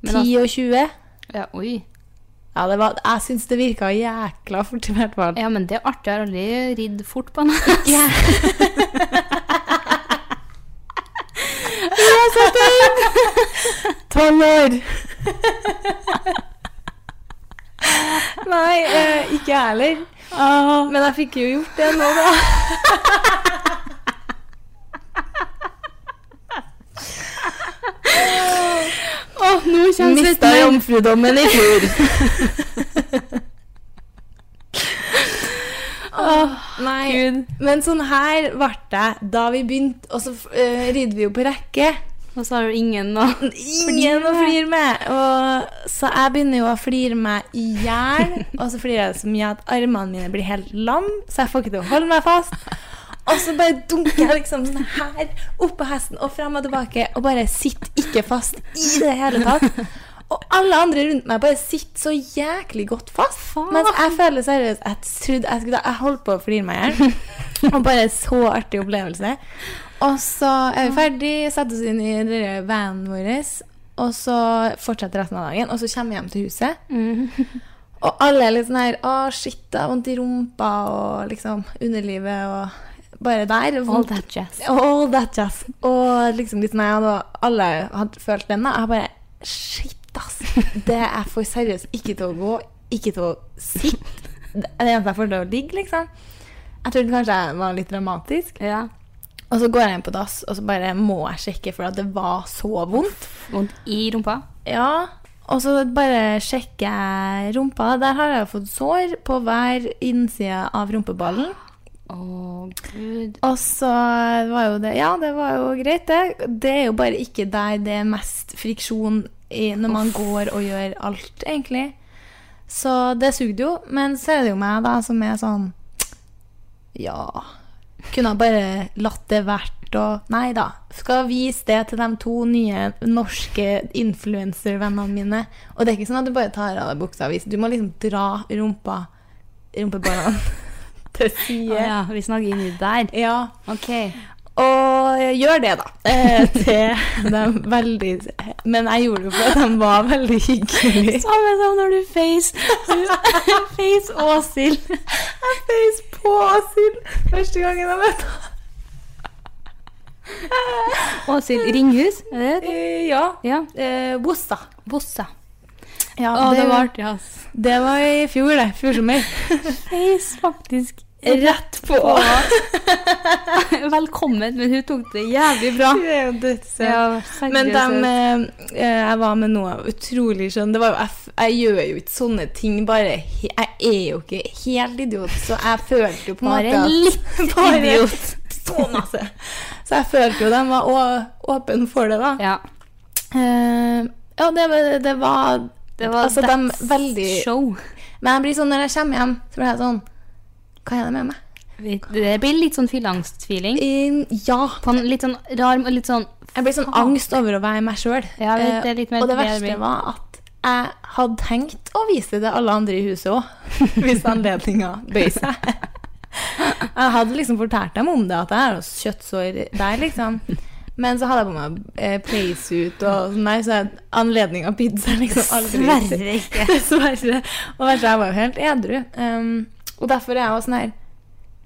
Men
10 og 20.
Ja, oi.
Ja, det var, jeg syns det virka jækla fort, i hvert fall.
Ja, men det er artig. Jeg har aldri ridd fort på en hest.
Tolv år! Nei, eh, ikke jeg heller.
Ah.
Men jeg fikk jo gjort det nå, da.
Åh, nå kjennes det
Mista jomfrudommen i fjor. nei. Men sånn her ble det da vi begynte, og så eh, ridde vi jo på rekke.
Og så har du ingen nå.
Ingen å flire med! Og, så jeg begynner jo å flire meg i hjel, og så flirer jeg så mye at armene mine blir helt lam, så jeg får ikke til å holde meg fast. Og så bare dunker jeg liksom sånn her opp på hesten og frem og tilbake, og bare sitter ikke fast i det hele tatt. Og alle andre rundt meg bare sitter så jæklig godt fast. Mens jeg føler seriøst Jeg trodde jeg skulle Jeg holdt på å flire meg i hjel. Og bare så artig opplevelse. Og så er vi ferdig, setter oss inn i den der vanen vår, og så fortsetter resten av dagen. Og så kommer vi hjem til huset. Og alle er litt sånn her Å, shit, det har vondt i rumpa og liksom underlivet og bare der.
All
Vondt.
that jazz.
All that jazz. Og liksom litt sånn her, og alle hadde følt den, da. Jeg bare Shit, ass. Det jeg får seriøst ikke til å gå, ikke til å sitte. Det er det eneste jeg får til å ligge, liksom. Jeg trodde kanskje jeg var litt dramatisk.
Ja.
Og så går jeg inn på dass, og så bare må jeg sjekke, for at det var så vondt.
Vondt i rumpa.
Ja, Og så bare sjekker jeg rumpa. Der har jeg jo fått sår på hver innside av rumpeballen.
Å, gud.
Og så var jo det Ja, det var jo greit, det. Det er jo bare ikke der det er mest friksjon i, når man går og gjør alt, egentlig. Så det sugde jo. Men så er det jo meg, da, som er sånn Ja Kunne ha bare latt det vært og Nei da. Skal vise det til de to nye norske influenservennene mine. Og det er ikke sånn at du bare tar av deg buksa og viser. Du må liksom dra rumpa rumpeballene til
Å
side.
ja, vi snakker inni der.
Ja,
Ok.
og gjør det, da. Eh, til de veldig Men jeg gjorde det for at de var veldig hyggelige.
Samme som når du face Face Åshild.
Jeg feis på Asil første gangen jeg møtte ham.
Åshild Ringhus, er det det?
Ja.
Ja.
Eh, Bossa.
Bossa.
Ja,
Å, det var artig, ass.
det var i fjor, det. Fjor sommer.
Feis faktisk
Rett på!
Velkommen, men hun tok det jævlig bra.
Det er jo dødssøtt. eh, Men dem, eh, eh, jeg var med noe utrolig skjønn. Det var jo, jeg, f- jeg gjør jo ikke sånne ting bare he- Jeg er jo ikke helt idiot, så jeg følte jo på en
Bare
måte at-
litt
Bare
idiot.
Så masse. Så jeg følte jo de var å- åpen for det, da.
Ja.
Eh, ja, det, var- det var
Det var
altså, dem
that's
veldig
show.
Men jeg blir sånn når jeg kommer hjem, så blir jeg sånn Hva er det med meg?
Det blir litt sånn fylleangstfeeling.
Eh, ja.
På en litt sånn rar og litt sånn
Jeg blir sånn angst over å være meg sjøl.
Ja, jeg vet, det er litt mer
og det
det jeg
verste
blir.
var at jeg hadde tenkt å vise det til alle andre i huset òg, hvis anledninga bøy seg. Jeg hadde liksom fortalt dem om det, at jeg har jo kjøttsår der, liksom. Men så hadde jeg på meg eh, playsuit og sånn der, så anledninga bydde seg liksom aldri.
Dessverre ikke.
Dessverre. Og verst, jeg var jo helt edru. Um, og derfor er jeg også sånn her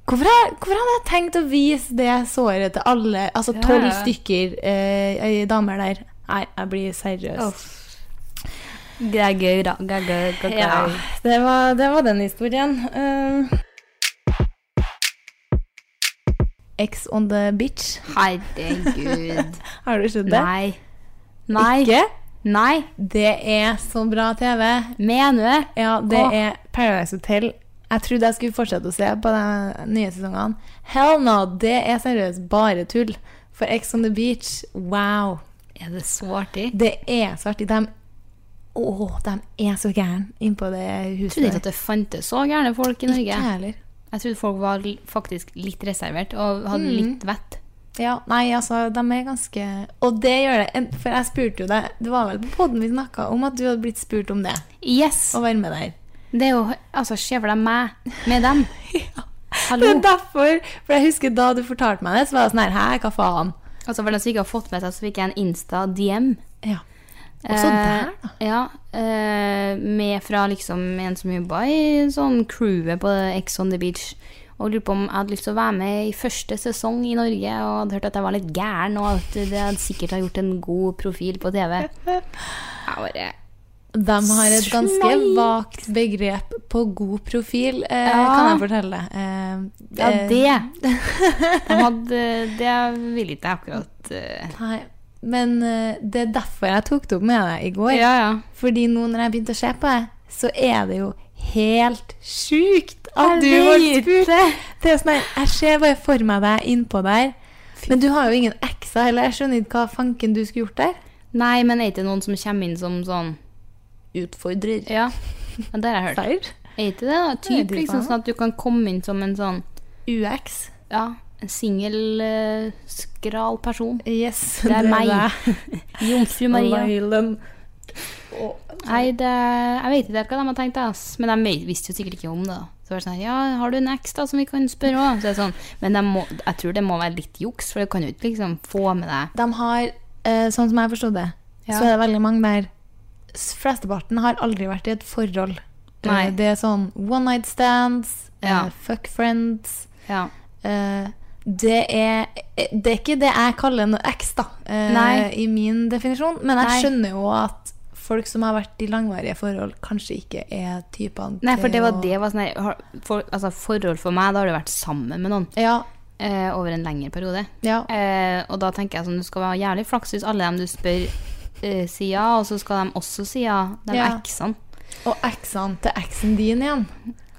Hvorfor, har- hvorfor hadde jeg tenkt å vise det såret til alle? Altså
Ja,
tolv
ja.
stykker eh, damer der. Nei, jeg blir seriøs.
Det er gøy, da. Det er gøy, gøy, gøy.
Ja, det var, det var den historien. Eh, Ex on the beach.
Herregud.
Har du sett det?
Nei. Nei.
Ikke?
Nei.
Det er så bra TV.
Mener du det?
Ja, det
Åh.
er Paradise Hotel. Jeg trodde jeg skulle fortsette å se på de nye sesongene. Hell no! Det er seriøst bare tull. For Ex on the beach, wow.
Er det så artig?
Det er så artig. De, åh, de er så gærne innpå det
Jeg trodde
huset.
ikke at det fantes så gærne folk i Norge.
Ikke heller.
Jeg trodde folk var l- faktisk litt reservert og hadde
Mm.
litt vett.
Ja, nei, altså, de er ganske Og det gjør det. En- For jeg spurte jo deg, det var vel på poden vi snakka om at du hadde blitt spurt om det,
Yes!
å være med der.
Det er jo Altså, se for deg meg med dem.
Det
Hallo.
er derfor, for jeg husker da du fortalte meg det, så var jeg sånn her, hæ, hva faen?
Altså, for dem som ikke har fått med seg, så fikk jeg en Insta-DM.
Ja. Også der, da.
Ja. eh, med fra liksom en som jobba i sånn crewet på Ex on the Beach. Og lurte på om jeg hadde lyst til å være med i første sesong i Norge. Og hadde hørt at jeg var litt gæren, og at det hadde sikkert har gjort en god profil på TV. Jeg bare
De har et ganske
Sleit.
vagt begrep på god profil, eh,
Ja.
kan jeg fortelle. Eh,
Ja,
eh,
det De hadde, Det ville ikke jeg akkurat eh.
Nei, men eh, det er derfor jeg tok det opp med deg i går.
Ja, ja.
Fordi nå når jeg begynte å se på det, så er det jo helt sjukt
Jeg
at du ble
vet
spurt. Det er sånn her, jeg ser bare for meg deg innpå der. Men du har jo ingen ekser heller. Jeg skjønner ikke hva fanken du skulle gjort der.
Nei, men er ikke noen som kommer inn som sånn
Utfordrer.
Ja, ja, det har jeg hørt.
Seier.
Er ikke det da?
Nei,
Typ
det er
liksom
faen.
sånn at du kan komme inn som en sånn
UX.
Ja, en singel, eh, skral person.
Yes.
Det er meg. Jomfru Maria.
Maria.
Nei, det, jeg vet ikke helt hva de har tenkt, ass. men de vet- visste jo sikkert ikke om det. da. Så var det sånn, her, ja, Har du en eks da, som vi kan spørre òg? Så det er sånn, men de må, jeg tror det må være litt juks, for du kan jo ikke liksom få med deg
De har, eh, sånn som jeg forstod det,
Ja.
så er det veldig mange der s- Flesteparten har aldri vært i et forhold.
Nei.
Eh, Det er sånn one night stands,
Ja.
eh, fuck friends
ja.
eh, det, er, eh, det er ikke det jeg kaller en ex, da, eh,
Nei.
i min definisjon. Men jeg
Nei.
skjønner jo at folk som har vært i langvarige forhold, kanskje ikke er typene
Nei, for
til
det var
å-
det var sånn her, har- for, altså, Forhold for meg, da har du vært sammen med noen
Ja.
eh, over en lengre periode.
ja.
Eh, og da tenker jeg sånn, du skal være jævlig flaks hvis alle dem du spør, eh, sier ja, og så skal de også si ja, de
Ja.
eksene.
Og eksene til eksen din igjen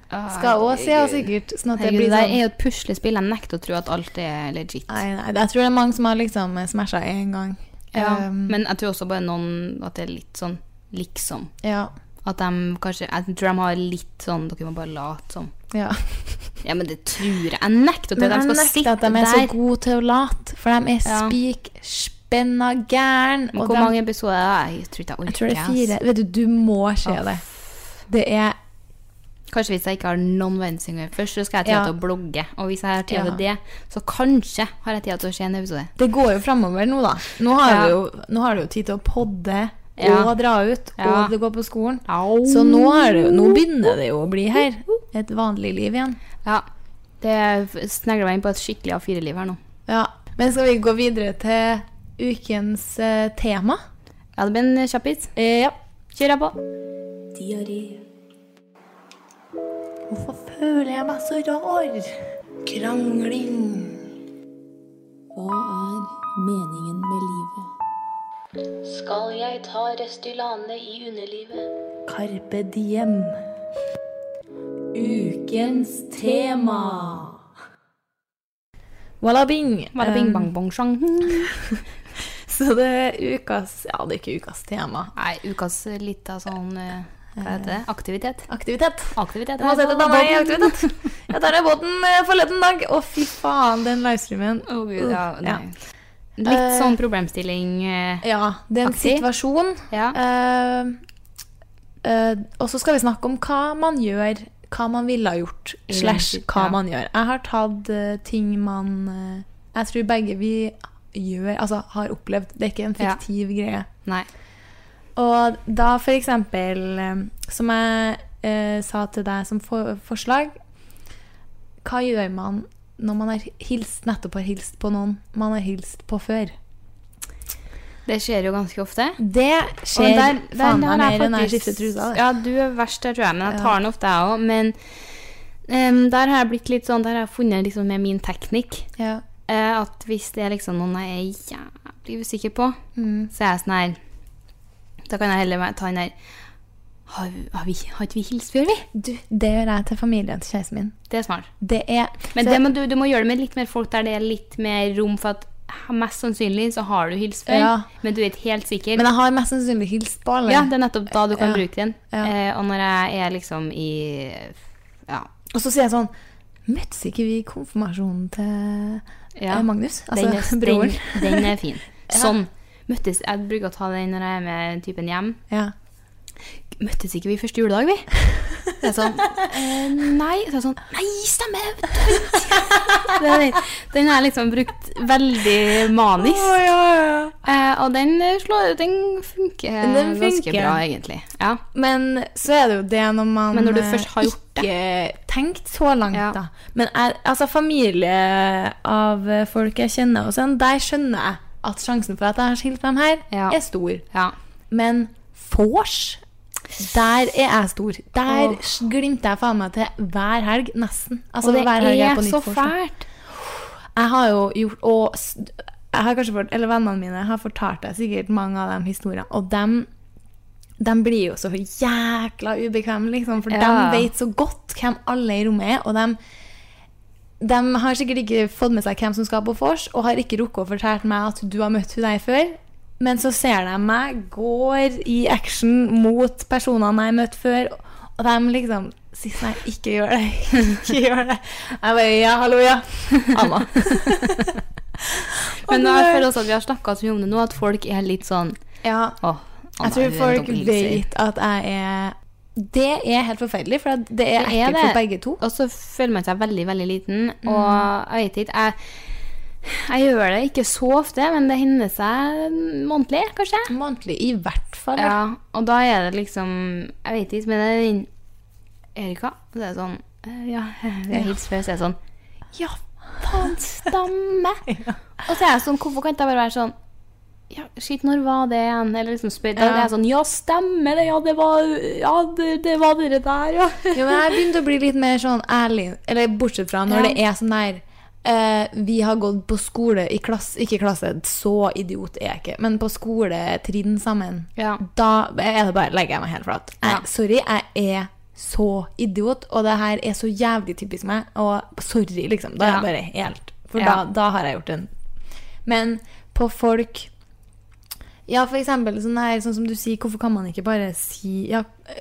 skal òg si ja, sikkert. Sånn at det
Ah, Herregud,
blir
det der er
sånn
jo et puslespill. Jeg nekter å tro at alt er legit.
Nei, nei, jeg tror det er mange som har liksom smasha én gang.
Ja,
Um,
men jeg tror også bare noen at det er litt sånn liksom.
ja,
At de kanskje Jeg tror de har litt sånn Dere må bare late som.
ja.
Ja, men det tror jeg. Jeg nekter å tro
Men
at de
jeg
skal
nekter
sitte
at de er så
der.
gode til å late, for de er
Ja.
spikspenna gæren.
Men
og
Hvor
de-
mange episoder er det? Jeg tror ikke jeg orker.
Jeg tror det er
ass.
fire. Vet du, du må se
Åh,
det. Det er
Kanskje hvis jeg ikke har noen verdensingere først, så skal jeg ha tid
Ja.
til å blogge. Og hvis jeg har tid til det, så kanskje har jeg tid til å se en episode.
Det går jo framover nå, da. Nå har,
Ja.
du, jo, nå har du jo tid til å podde og
Ja.
dra ut,
Ja.
og det går på skolen.
Au.
Så nå, er det, jo- nå begynner det jo å bli her. Et vanlig liv igjen.
Ja. Det snegler meg inn på et skikkelig A4-liv her nå.
Ja. Men skal vi gå videre til ukens eh, tema?
Ja, det blir en kjappis.
Eh, ja.
Kjør jeg på.
diaré.
Hvorfor føler jeg meg så rar?
Krangling. Hva er meningen med livet?
Skal jeg ta Restylane i underlivet?
Carpe diem.
Ukens tema.
Walla bing.
Bare bing, bang, bong, sjang.
Eh, Så det er ukas Ja, det er ikke ukas tema.
Nei, ukas lita sånn eh, Hva heter det? Aktivitet.
Aktivitet.
Aktivitet.
Jeg må sette dama i aktivitet. Jeg tar av båten eh, forleden dag. Å, fy faen, den livestreamen.
Å, Gud, ja,
ja. Eh.
nei. Litt sånn problemstilling eh,
ja, det er en
Aktiv.
situasjon.
Ja.
Eh, eh, og så skal vi snakke om hva man gjør, hva man ville ha gjort,
I
slash
den sit-
hva
ja.
man gjør. Jeg har tatt eh, ting man eh, Jeg tror begge vi gjør, altså har opplevd. Det er ikke en
Ja.
fiktiv greie.
Nei.
Og da for eksempel, eh, som jeg eh, sa til deg som for forslag, hva gjør man når man har hilst, nettopp har hilst på noen man har hilst på før?
Det skjer jo ganske ofte.
Det
Og
skjer
der- der
faen meg
har jeg
mer enn altså. jeg
faktisk-
skifter trusa. det.
Ja, du er verst der, tror jeg. Men jeg tar den ofte, jeg òg. Men em, der har jeg blitt litt sånn Der har jeg funnet liksom med min teknikk
Ja.
eh, at hvis det er liksom noen jeg er jævlig usikker på,
Mm.
så er jeg sånn her Da kan jeg heller være- ta den der har, har, vi, har ikke vi hilst før, vi?
Du, det gjør jeg til familien til kjæresten min.
Det er smart.
Det er
Men
så-
det må du, du må gjøre det med litt mer folk der det er litt mer rom for at mest sannsynlig så har du hilst før,
Ja.
men du er ikke helt sikker.
men jeg har mest sannsynlig hilst på alle.
Ja, det er nettopp da du kan
Ja,
bruke den.
ja.
Eh, og når jeg er liksom i Ja.
Og så sier jeg sånn Møttes ikke vi i konfirmasjonen til
ja.
eh, Magnus? Altså
den, er,
broren.
den, den er fin. Sånn. Møttes, jeg bruker å ta den når jeg er med typen hjem.
Ja.
Møttes ikke vi første juledag, vi? Det er sånn eh, Nei. Så er det sånn Nei, stemmer! vet du. Det er den. Den har jeg liksom brukt veldig manisk. Eh, og den, slår, den funker
Den funker.
ganske bra, egentlig. Ja.
Men så er det jo det når man
Men når du først har
eh,
gjort det.
ikke tenkt så langt,
Ja.
da. Men jeg, altså, familie av eh, folk jeg kjenner, og sånn, der skjønner jeg at sjansen for at jeg har skilt dem her,
Ja.
er stor.
ja.
Men vors, der er jeg stor. Der
Åh.
s- glimter jeg faen meg til hver helg, nesten. Altså,
Og det
hver helg jeg
er
på
så
nytt vors, da.
fælt.
Jeg har jo gjort Og s- jeg har kanskje fått, eller vennene mine har fortalt deg sikkert mange av de historiene. Og dem, dem blir jo så jækla ubekvemme, liksom. For
Ja.
de vet så godt hvem alle i rommet er. Og dem, dem har sikkert ikke fått med seg hvem som skal på vors, og har ikke rukket å fortelle meg at du har møtt hun der før. Men så ser de meg, går i action mot personene jeg møtte før, og de liksom sier sånn her, Ikke gjør det. Ikke gjør det. Jeg bare Ja, hallo, ja. Anna.
Men jeg
Og det-
føler også at vi har snakka så mye om det nå, at folk er litt sånn
Ja,
Åh, Anna,
jeg
hun
tror
er en
folk
dobbelthilser».
vet at jeg er Det er helt forferdelig, for at det
Det
er
er
ekkelt
det.
for begge to.
Og så føler man seg veldig, veldig liten. Og jeg vet ikke jeg, jeg gjør det ikke så ofte, men det hender seg månedlig, kanskje.
Månedlig, i hvert fall.
Ja, og da er det liksom Jeg vet ikke, men det er den Erika, så er det sånn eh, Ja, vi har hilst før, så er det sånn Ja, faen, stamme! Og så er jeg sånn Hvorfor kan ikke jeg bare være sånn ja, Shit, når var det igjen? Eller liksom spør, Da
Ja.
er jeg sånn Ja, stemmer det! Ja, det var, ja, det, det, var dere der, ja.
Jo, men jeg begynte å bli litt mer sånn ærlig, eller bortsett fra når
Ja.
det er sånn der eh, Vi har gått på skole i klasse Ikke klasse, så idiot er jeg ikke, men på skoletrinn sammen.
Ja.
Da er det bare legger jeg meg helt flat. Jeg,
Ja.
Sorry, jeg er så idiot, og det her er så jævlig typisk meg. Og sorry, liksom. Da er
Ja.
jeg bare helt For
Ja.
da, da har jeg gjort en Men på folk ja, for eksempel sånn, her, sånn som du sier, hvorfor kan man ikke bare si ja,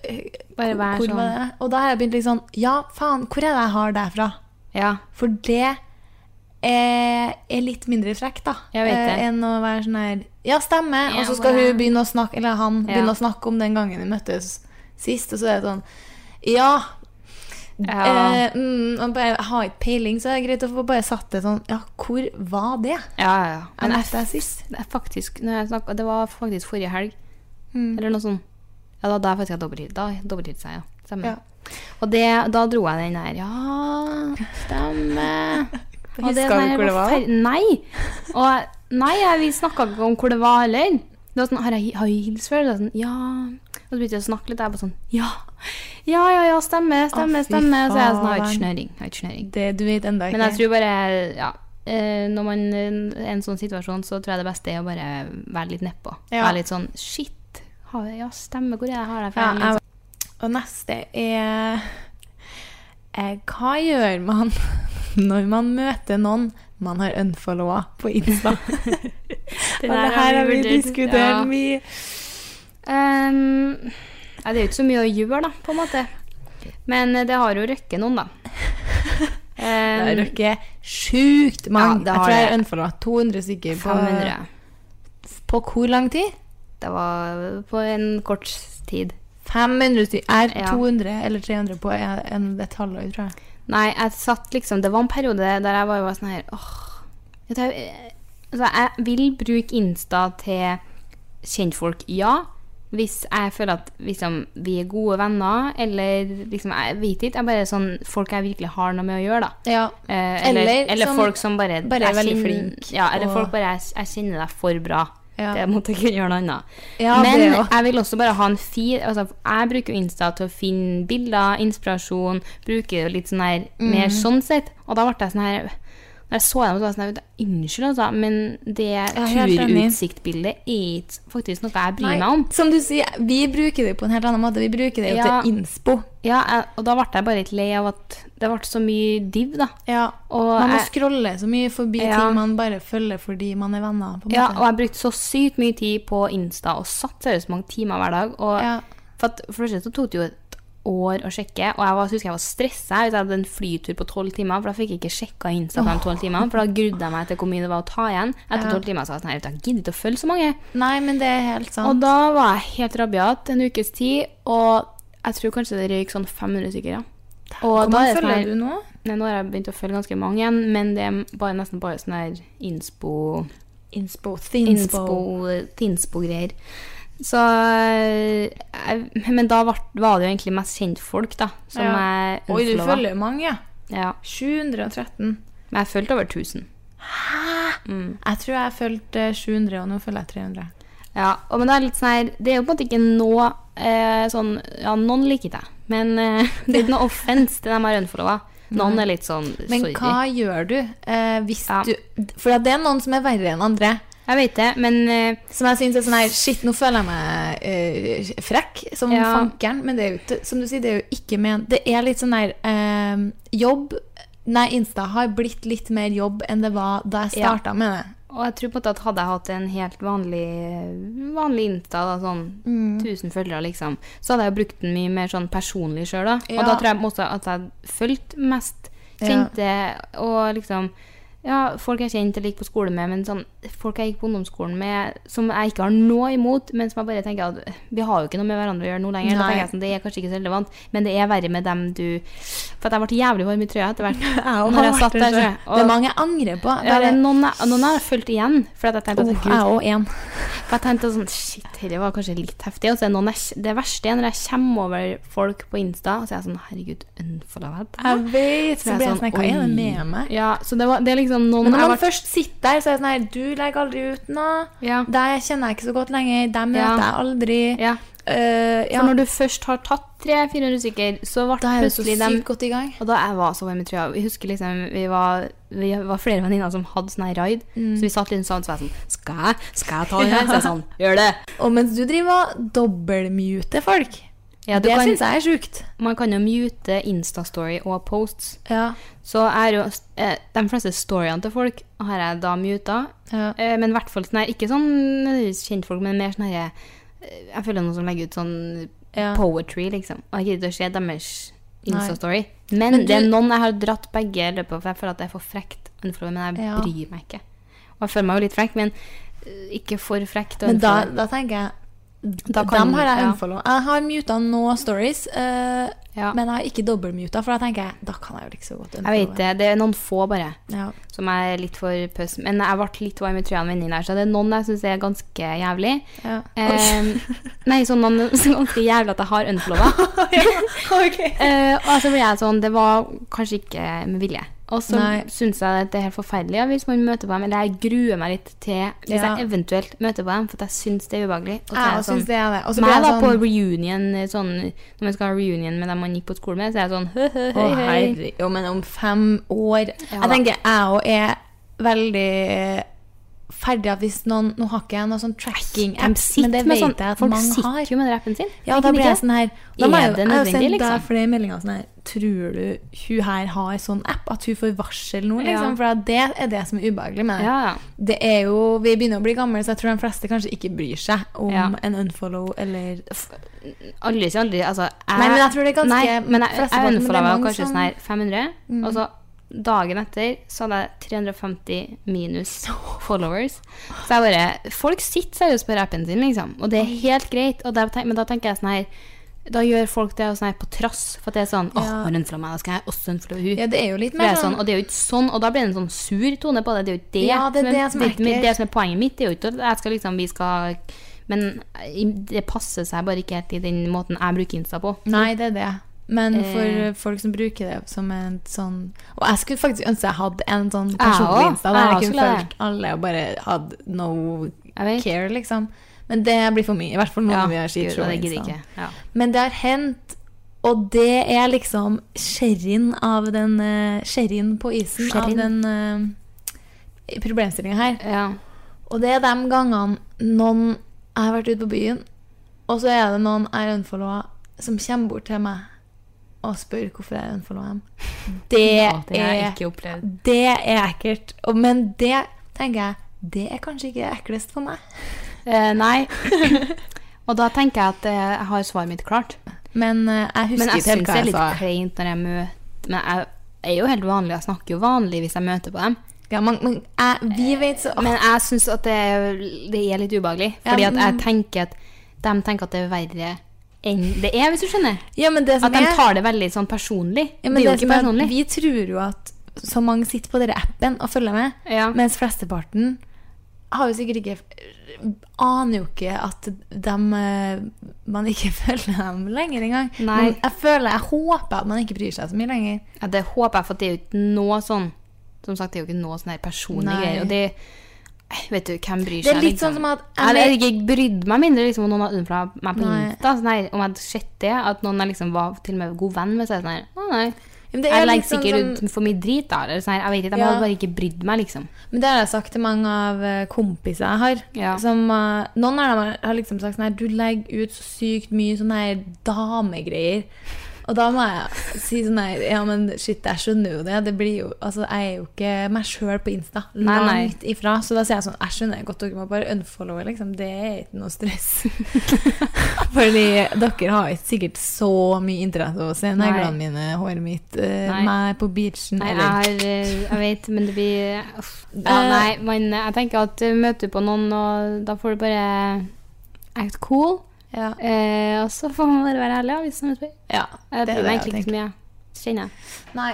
eh,
Bare være
hvor, hvor var
sånn.
det? Og da har jeg begynt litt sånn Ja, faen, hvor er det jeg har deg fra?
ja.
For det er, er litt mindre frekt, da.
Jeg vet det.
Eh, enn å være sånn her Ja, stemmer.
Ja,
og så skal
hvor er-
hun begynne å snakke Eller han
Ja.
begynne å snakke om den gangen vi møttes sist, og så er det sånn Ja.
Ja.
Eh, mm, og bare, jeg har ikke peiling, så er det greit å få bare satt det sånn Ja, hvor var det?
Ja, ja, ja.
Jeg
Men jeg,
møtte deg sist.
det er faktisk når jeg snakket, Det var faktisk forrige helg.
Mm.
Eller noe sånt. Ja, da, da faktisk jeg dobbelthit. Da dobbelthit seg, ja. Stemmer.
Ja.
Og det, da dro jeg den der. Ja, stemmer. Og det
Husker du
der
hvor det var?
fer- Nei. Og nei, jeg, vi snakka ikke om hvor det var heller. Det var sånn, har jeg hi- har jeg hilst før? Det var sånn, ja. Og så begynte jeg å snakke litt, og jeg bare sånn Ja, ja, ja, ja stemmer, stemmer,
fy
stemmer. Så jeg er sånn Har ikke
faen.
snøring. Har ikke snøring.
Det du vet enda ikke.
Men jeg tror bare Ja. eh, Når man eh, er i en sånn situasjon, så tror jeg det beste er å bare være litt nedpå.
Ja.
Være litt sånn Shit, har jeg, ja, stemmer. Hvor er det her? jeg
ja,
har det fra?»
jeg, Og neste er eh, Hva gjør man når man møter noen man har unfollowa på Insta?
Det
Og det
der
her har vi
vurdert.
diskutert
Ja.
mye.
Ehm, ja, det er jo ikke så mye å gjøre, da, på en måte. Men eh, det har jo røkket noen, da.
Det
Ehm,
er ikke sjukt mange.
Ja, det har
jeg tror jeg
det.
har unfollowa 200 stykker på,
500.
på hvor lang tid?
Det var på en kort tid.
500 stykker. Er
Ja.
200 eller 300 på en, en, et halvår, tror jeg.
Nei, jeg satt liksom Det var en periode der jeg bare var sånn her åh, vet du, jeg, altså, jeg vil bruke Insta til kjentfolk, ja. Hvis jeg føler at liksom, vi er gode venner, eller liksom, jeg vet ikke. Jeg bare er sånn folk jeg virkelig har noe med å gjøre, da.
Ja.
Eh, eller
Eller
eller,
som
folk som bare,
bare er
jeg
veldig
kjenner-
flink,
Ja, eller
og-
folk bare jeg, 'Jeg kjenner deg for bra'.
Ja.
Det måtte jeg kunne gjøre noe annet.
Ja,
Men
det også.
jeg vil også bare ha en feed altså, Jeg bruker jo Insta til å finne bilder, inspirasjon. Bruker jo litt sånn her
Mm.
mer sånn sett. Og da ble jeg sånn her da jeg så dem, så var jeg sånn her Unnskyld, altså, men det
er helt enig.
turutsiktbildet er ikke faktisk noe jeg bryr meg
Nei,
om.
Som du sier, vi bruker det jo på en helt annen måte. Vi bruker det jo
Ja.
til innspo.
Ja, jeg, og da ble jeg bare litt lei av at det ble så mye div, da.
Ja.
Og
man må
jeg-
scrolle så mye forbi
Ja.
ting man bare følger fordi man er venner. På en
Ja,
måte.
og jeg brukte så sykt mye tid på Insta og satt seriøst mange timer hver dag. Og
Ja.
for, at, for det første så tok det jo et år å sjekke, og jeg var, husker jeg var stressa hvis jeg hadde en flytur på tolv timer, for da fikk jeg ikke sjekka Insta på de tolv timene, for da grudde jeg meg til hvor mye det var å ta igjen. Etter tolv timer så var jeg sånn her, jeg gidder ikke å følge så mange.
Nei, men det er helt sant.
Og da var jeg helt rabiat en ukes tid, og jeg tror kanskje det røyk sånn 500 stykker, ja. Og
Hvor
da
mange
er det sånn
følger
her-
du nå?
Nei, nå har jeg begynt å følge ganske mange igjen, men det er bare, nesten bare sånn her innspo
Inspo.
Tinspo- Tinspo-greier. Så eh, jeg, Men da var, var det jo egentlig mest kjentfolk, da. Som
Ja.
jeg
Oi, du
unfollowa.
følger mange, ja.
Ja.
713.
Men jeg fulgte over 1000. Mm.
Jeg tror jeg fulgte eh, 700, og nå følger jeg 300.
Ja, og, men det er litt sånn her Det er jo på en måte ikke nå eh, sånn Ja, noen liker ikke jeg, men eh, det er ikke noe offense til dem jeg har unfollowa. Noen er litt sånn
Men
sorry.
hva gjør du eh, hvis
Ja.
du For det er noen som er verre enn andre.
Jeg vet det, men eh,
Som jeg syns er sånn her Shit, nå føler jeg meg eh, frekk som
Ja.
fankeren. Men det er jo ikke Som du sier, det er jo ikke men Det er litt sånn her eh, Jobb Nei, Insta har blitt litt mer jobb enn det var da jeg
Ja.
starta med det.
Og jeg tror på en måte at hadde jeg hatt en helt vanlig, vanlig Insta, da, sånn
Mm.
1000 følgere, liksom, så hadde jeg jo brukt den mye mer sånn personlig sjøl, da. Og
Ja.
da tror jeg på en måte at jeg fulgte mest kjente og liksom ja, Folk jeg kjente eller gikk på skole med, men sånn, folk jeg gikk på ungdomsskolen med som jeg ikke har noe imot, men som jeg bare tenker at vi har jo ikke noe med hverandre å gjøre nå lenger. Da
Nei.
tenker jeg sånn, Det er kanskje ikke så relevant, men det er verre med dem du For at jeg ble jævlig varm i trøya etter hvert. når jeg satt der, tror jeg.
Det er
Og-
mange jeg angrer på.
ja, det
Bare,
er noen, jeg- noen jeg har fulgt igjen. For at jeg tenkte, at,
oh, jeg
Gud,
og en.
for jeg tenkte sånn Shit, dette var kanskje litt heftig. Og så er det noen jeg, det verste er når jeg kommer over folk på Insta, og så er jeg sånn Herregud, unfollow
Jeg
jeg
vet,
Så
så blir jeg sånn, hva er det
oi.
med meg?
Ja, så det, var, det er liksom noen
Men når
jeg
man
ble-
først sitter der, så er det sånn her, du legger aldri ut noe.
Ja.
Deg kjenner jeg ikke så godt lenger, deg
Ja.
møter jeg aldri.
ja.
Eh, ja.
For når du først har tatt 300-400 stykker, så ble
Da er det så
plutselig dem
sykt godt i gang.
Og da jeg var så varm i trøya Vi husker liksom Vi var, vi var flere venninner som hadde sånn her raid.
Mm.
Så vi satt liksom sammen, så var jeg sånn Skal jeg? Skal jeg ta den her? Så jeg sånn Gjør det!
Og mens du driver og dobbeltmuter folk,
Ja, du
det
kan-
syns jeg er sjukt.
Man kan jo mute Insta-story og posts.
Ja.
Så er jo eh, de fleste storyene til folk har jeg da muta.
Ja.
Eh, men i hvert fall sånn her, ikke sånn nødvendigvis kjentfolk, men mer sånn her eh, Jeg føler noen som legger ut sånn
Ja.
poetry, liksom. Og jeg gidder ikke å se deres Insta-story. Men,
Men
det er
du-
noen jeg har dratt begge i løpet av, for jeg føler at det er for frekt. å unfollow, Men jeg
Ja.
bryr meg ikke. Og jeg føler meg jo litt frekk, men eh, ikke for frekt. å
Men da,
unfollow.
da tenker jeg
Da kan-
Dem har jeg
ja.
unfollow. Jeg har muta nå stories, eh,
Ja.
men jeg har ikke dobbeltmuta, for da tenker jeg da kan jeg jo like så godt
jeg vet
unfollowe.
det. Det er noen få, bare.
Ja.
som er litt for pøs. Men jeg ble litt varm i trøya av venninnen her, så det er noen jeg syns er ganske jævlig.
Ja.
Eh, nei, sånn noen som er ganske jævlig at jeg har unfollowa.
Ok.
eh, og så ble jeg sånn Det var kanskje ikke med vilje. Og så
Nei.
syns jeg at det er helt forferdelig ja, hvis man møter på dem. Eller jeg gruer meg litt til hvis
Ja.
jeg eventuelt møter på dem, for at jeg syns det er ubehagelig. Og så
Jeg
er jeg
også synes det er det. Og så
Men
blir
jeg
jeg
var på
sånn-
reunion eh, sånn, Når man skal ha reunion med dem man gikk på skole med, så er jeg sånn hø, hø, høy,
Å,
høy.
herre, jo, men om fem år
da.
Jeg tenker jeg òg er veldig ferdig at hvis noen Nå har ikke jeg noen sånn tracking-apps,
sitter
men det
med
vet
sånn-
jeg at
folk
mange
sitter
har.
jo med den appen sin.
Ja,
Tenker
da
de
blir
ikke?
jeg sånn her
Er
da
det
må jeg, jo- Jeg har jo
nødvendig,
sendt
liksom?
deg flere meldinger sånn her Tror du hun her har sånn app? At hun får varsel nå, liksom?
Ja.
For at det er det som er ubehagelig med det.
Ja, ja.
Det er jo, Vi begynner å bli gamle, så jeg tror de fleste kanskje ikke bryr seg om
Ja.
en unfollow eller
Aldri si aldri. Altså, jeg,
Nei, men jeg tror det er ganske
Nei, men jeg, jeg
flesteparten, men det er
unfollowa
mange
kanskje
som- Mm.
sånn her 500, og så dagen etter så hadde jeg 350 minus followers. Så jeg bare Folk sitter seriøst på rappen sin, liksom, og det er helt greit. Og da tenk, men da tenker jeg sånn her da gjør folk det og sånn her på trass. For at det er sånn åh,
Ja.
hun unfollowa meg, da skal jeg også unfollowe hun.
Ja, det er jo litt
For
mer
det er sånn, og det er jo ikke sånn, og da blir det en sånn sur tone på det. Det er jo ikke det,
Ja, det er det som er
det,
ekkelt.
det som er poenget mitt. Det er jo ikke at jeg skal liksom, vi skal Men det passer seg bare ikke helt i den måten jeg bruker Insta på.
Nei, det er det. Men for
Eh.
eh, folk som bruker det som en sånn Og jeg skulle faktisk ønske jeg hadde en sånn
Jeg
personlig
også.
Insta der
Jeg sånn
jeg
skulle
kunne
det.
fulgt alle og bare hadde no
Jeg vet.
care, liksom. Men det blir for mye. I hvert fall nå når vi har
Gud,
skitshow.
og det
på
gidder jeg
Insta.
ikke. Ja.
Men det har hendt, og det er liksom sherryen av den eh, Sherryen på isen
Sherryen.
av den uh, problemstillinga her.
Ja.
Og det er de gangene noen Jeg har vært ute på byen, og så er det noen jeg er unfollowa, som kommer bort til meg og spør hvorfor jeg er unfollowa dem. Det,
Å, det har jeg
er,
ikke opplevd.
det er ekkelt. Og- Men det tenker jeg det er kanskje ikke det ekleste for meg.
Eh, nei. og da tenker jeg at eh, jeg har svaret mitt klart.
Men eh, jeg husker
Men jeg
ikke
syns
helt hva
det er
jeg
litt
sa.
kleint når jeg møter Men jeg er jo helt vanlig, jeg snakker jo vanlig hvis jeg møter på dem.
Ja, man, man, jeg, vi vet så
Eh, Men jeg syns at det er, det er litt ubehagelig. Fordi
Ja, mm.
at jeg tenker at de tenker at det er verre enn det er, hvis du skjønner.
Ja, men det som
At de
er-
tar det veldig sånn personlig.
Ja, men
det er jo
det
ikke sånn
som
personlig.
er, vi tror jo at så mange sitter på denne appen og følger med,
Ja.
mens flesteparten har jo sikkert ikke aner jo ikke at dem, eh, man ikke følger dem lenger engang.
Nei.
Men jeg føler, jeg håper at man ikke bryr seg så mye lenger.
Ja, det håper jeg, for det er jo ikke noe sånn Som sagt, det er jo ikke noe sånn her personlig
Nei.
greier. Og det eh, Vet du, hvem bryr
Det er
seg?
litt sånn som at jeg
jeg hadde
vet-
ikke brydd meg mindre liksom, om noen hadde unnfla meg på
Nei.
Insta. Sånn her, om jeg hadde sett det, at noen jeg liksom var til og med god venn med, så er jeg sånn her Å, nei.
Men det er
Jeg legger
litt sånn
sikkert
som-
ut for mye drit, da. Eller sånn her. Jeg vet ikke, De
Ja.
hadde bare ikke brydd meg, liksom.
Men det har jeg sagt til mange av eh, kompiser jeg har.
Ja.
Som, eh, noen av dem har liksom sagt sånn her Du legger ut så sykt mye sånne her damegreier. Og da må jeg si sånn her Ja, men shit, jeg skjønner jo det. Det blir jo Altså, jeg er jo ikke meg sjøl på Insta.
Nei,
Langt
nei.
ifra. Så da sier jeg sånn Jeg skjønner godt dere må bare unfollowe, liksom. Det er ikke noe stress. Fordi dere har ikke sikkert så mye interesse av å se
Nei.
neglene mine, håret mitt, eh,
Nei.
meg på beachen
Nei, jeg,
eller
har, eh, jeg vet, men det blir uff. ja,
Eh.
Nei, men jeg tenker at eh, møter du på noen, og da får du bare act cool.
Ja.
Eh, og så får man bare være ærlig, ja, hvis man spør.
ja
Jeg
det er
bryr
det
meg
jeg
egentlig
tenker.
ikke så mye. Kjenner jeg.
Nei,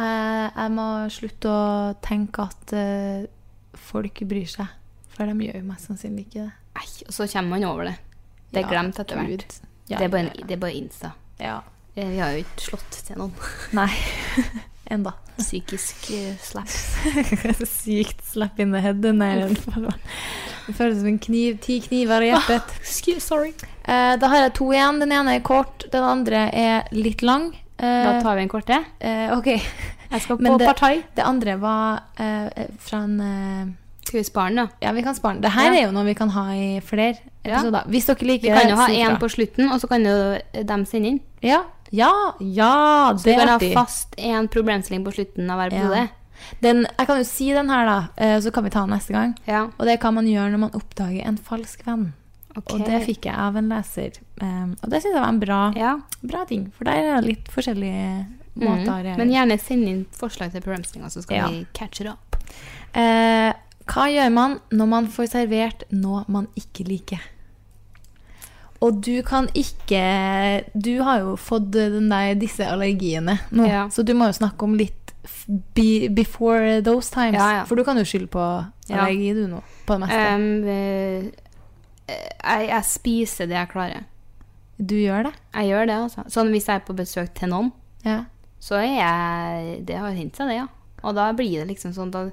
eh, jeg må slutte å tenke at eh, folk bryr seg. For de gjør jo mest sannsynlig ikke det.
Nei, og så kommer man over det. Det er
Ja,
glemt etter hvert.
Gud. Ja,
det, er bare,
ja,
en- det er bare Insta.
Ja.
Eh, Vi har jo ikke slått til noen.
Nei. Enda.
Psykisk eh, slap.
Sykt slapp in the head. Den er en Det føles som en kniv. Ti kniver i hjertet.
Ah, Sorry.
Eh, da har jeg to igjen. Den ene er kort, den andre er litt lang. Eh,
Da tar vi en kort til.
eh, ok.
Jeg skal
Men
på
det-
partai.
Det andre var eh, fra en eh,
Skal vi spare den, da?
Ja, vi kan spare den. Det her
Ja.
er jo noe vi kan ha i flere
Ja.
episoder. Hvis dere liker
Vi kan jo ha
si
én
fra.
på slutten, og så kan jo eh, dem sende inn.
Ja, ja, ja
Så vi
det
kan
er
ha
artig.
fast én problemstilling på slutten av hver episode.
Ja. Den, jeg kan jo si den her, da, eh, så kan vi ta den neste gang.
Ja.
Og det er hva man gjør når man oppdager en falsk venn.
ok.
Og det fikk jeg av en leser. Um, og det syns jeg var en bra,
Ja.
bra ting, for der er det litt forskjellige måter å
Mm.
reagere
Men gjerne send inn forslag til problemstillinger, så skal
Ja.
vi catch it up.
Eh, hva gjør man når man får servert noe man ikke liker? Og du kan ikke Du har jo fått den der, disse allergiene nå,
Ja.
så du må jo snakke om litt f- be, before those times.
Ja, ja.
For du kan jo skylde på
Ja.
allergi, du nå. På det meste.
Um, eh, jeg, jeg spiser det jeg klarer.
du gjør det?
Jeg gjør det, altså. Sånn hvis jeg er på besøk til noen,
Ja.
så er jeg Det har hendt seg, det, ja. Og da blir det liksom sånn da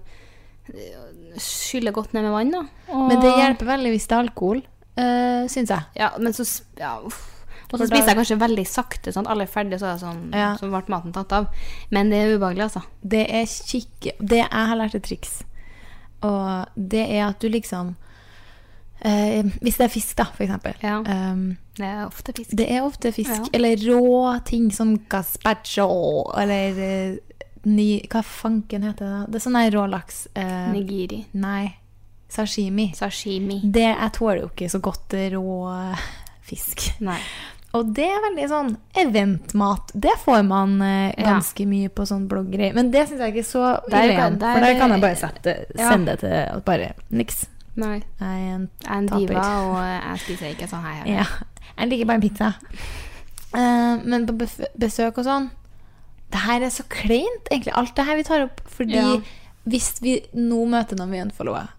Skyller godt ned med vann, da. Og,
Men det hjelper veldig hvis det er alkohol, uh, syns jeg.
Ja, men så sp- ja, uff. Og
For
så spiser
da-
jeg kanskje veldig sakte, sånn at alle er ferdige, så er det sånn
Ja.
Så ble maten tatt av. Men det er ubehagelig, altså.
Det er kikk... Det jeg har lært et triks. Og det er at du liksom eh, Hvis det er fisk, da, for eksempel.
Ja.
Ehm,
Det er ofte fisk.
det er ofte fisk.
Ja.
Eller rå ting som gazpacho eller eh, ny, Hva fanken heter det? da? Det er sånn her rå laks. eh,
Nigiri.
nei, sashimi.
Sashimi.
Det jeg tåler jo ikke så godt rå fisk.
Nei.
Og det er veldig sånn eventmat. Det får man eh,
Ja.
ganske mye på sånn blogggreier. Men det syns jeg ikke er så
Der
ille
kan-
igjen,
der-
For der kan jeg bare sette,
Ja.
sende det til bare niks.
Nei.
Jeg er en
Jeg er en
taper.
diva, og jeg spiser ikke sånn her.
Ja. Jeg liker bare pizza. Eh, men på bef besøk og sånn Det her er så kleint, egentlig. Alt det her vi tar opp. Fordi
Ja.
hvis vi nå møter noen vi unfollower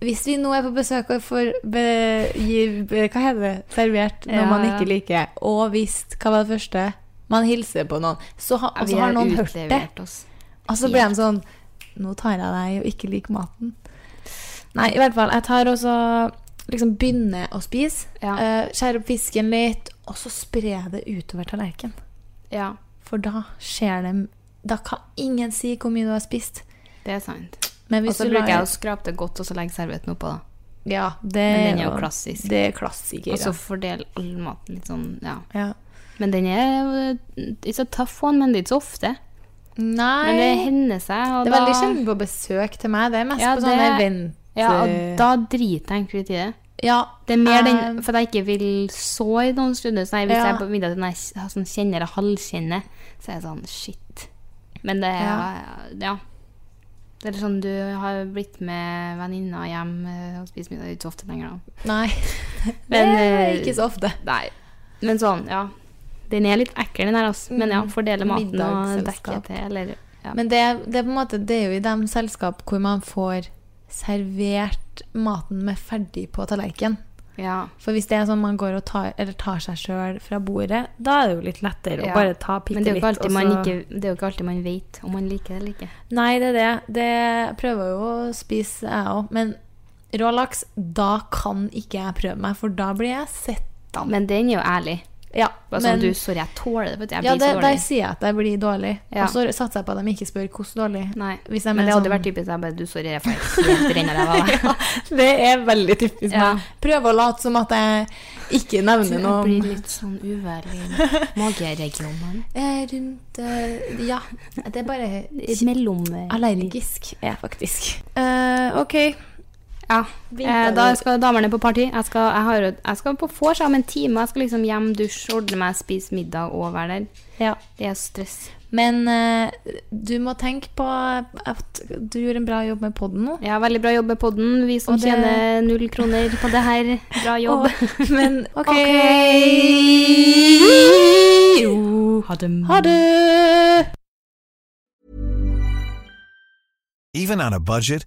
Hvis vi nå er på besøk og får be gir, be hva heter det, servert noe
Ja,
man
ja.
ikke liker, og hvis Hva var det første? Man hilser på noen, så ha, og
Vi
så har
har
noen hørt det.
utlevert oss.
Og så blir de sånn Nå tar jeg deg og ikke liker maten. Nei, i hvert fall. Jeg tar også liksom begynner å spise.
Ja.
eh, skjærer opp fisken litt, og så sprer det utover tallerkenen.
Ja,
For da skjer det Da kan ingen si hvor mye du har spist.
det er sant.
Men
Og så
du
bruker
lar-
jeg å skrape det godt, og så legge servietten oppå, da.
Ja, det
Men den er jo
jo-
klassisk.
Det er klassiker.
Og så
ja.
fordele all maten litt sånn, ja.
ja.
Men den er It's a tough one, men det er ikke så ofte.
Nei
Men det
det,
hender seg, og
er veldig
da-
sjelden på besøk til meg. Det er mest
Ja,
på sånne
det-
event...
Ja, og da driter jeg egentlig litt i det.
Ja,
Det er mer den
eh,
For at jeg ikke vil såre noen stunder. Så nei, hvis
Ja.
jeg er på middag til noen jeg har sånn kjenner og halvkjenner, så er jeg sånn shit. Men det er ja. Det er sånn du har blitt med venninna hjem eh, og spist middag det er ikke så ofte lenger, da.
Nei.
Men,
det er
eh,
ikke så ofte.
Nei. Men sånn, ja. Den er litt ekkel, den her, altså. Men ja,
Mm.
fordele maten og dekke
Middagsselskap.
til, eller ja.
Men det, det, er på en måte, det er jo i de selskap hvor man får servert maten med ferdig på tallerken.
ja.
For hvis det er sånn man går og tar, eller tar seg sjøl fra bordet, da er det jo litt lettere
Ja.
å bare ta bitte
Men det er, jo
litt.
ikke alltid
og så-
man ikke, det er jo ikke alltid man vet om man liker det eller ikke.
Nei, det er det. Det jeg prøver jo å spise, jeg òg. Men rå laks, da kan ikke jeg prøve meg, for da blir jeg sett.
Men den er jo ærlig.
Ja,
Bare
men-
sånn, du, sorry, jeg tåler det. vet du, Jeg
ja,
blir
det,
så
der
dårlig.
sier jeg at jeg blir dårlig.
Ja.
Og så satser jeg på at de ikke spør hvordan dårlig.
Nei,
Hvis jeg
men det
mener
hadde
sånn-
vært typisk jeg bare Du, sorry, jeg er feil. Helt renner ræva av deg.
Det er veldig typisk
Ja.
meg. Prøv å late som at jeg ikke nevner
Jeg
noe om
blir litt sånn uværlig i mageregionen.
Eh, Rundt eh, Ja. Det er bare
Mellom
allergisk, er jeg faktisk. ok.
Ja. Eh, da skal damene på party. Jeg skal, jeg har, jo- jeg skal på vors om en time. Jeg skal liksom hjem, dusje, ordne meg, spise middag og være der.
Ja.
Det er stress.
Men eh, du må tenke på at du gjorde en bra jobb med podden nå.
Ja, veldig bra jobb med podden. Vi som
Og det-
tjener null kroner på det her. Bra jobb.
Og- men ok. Ha det.
Even on a budget,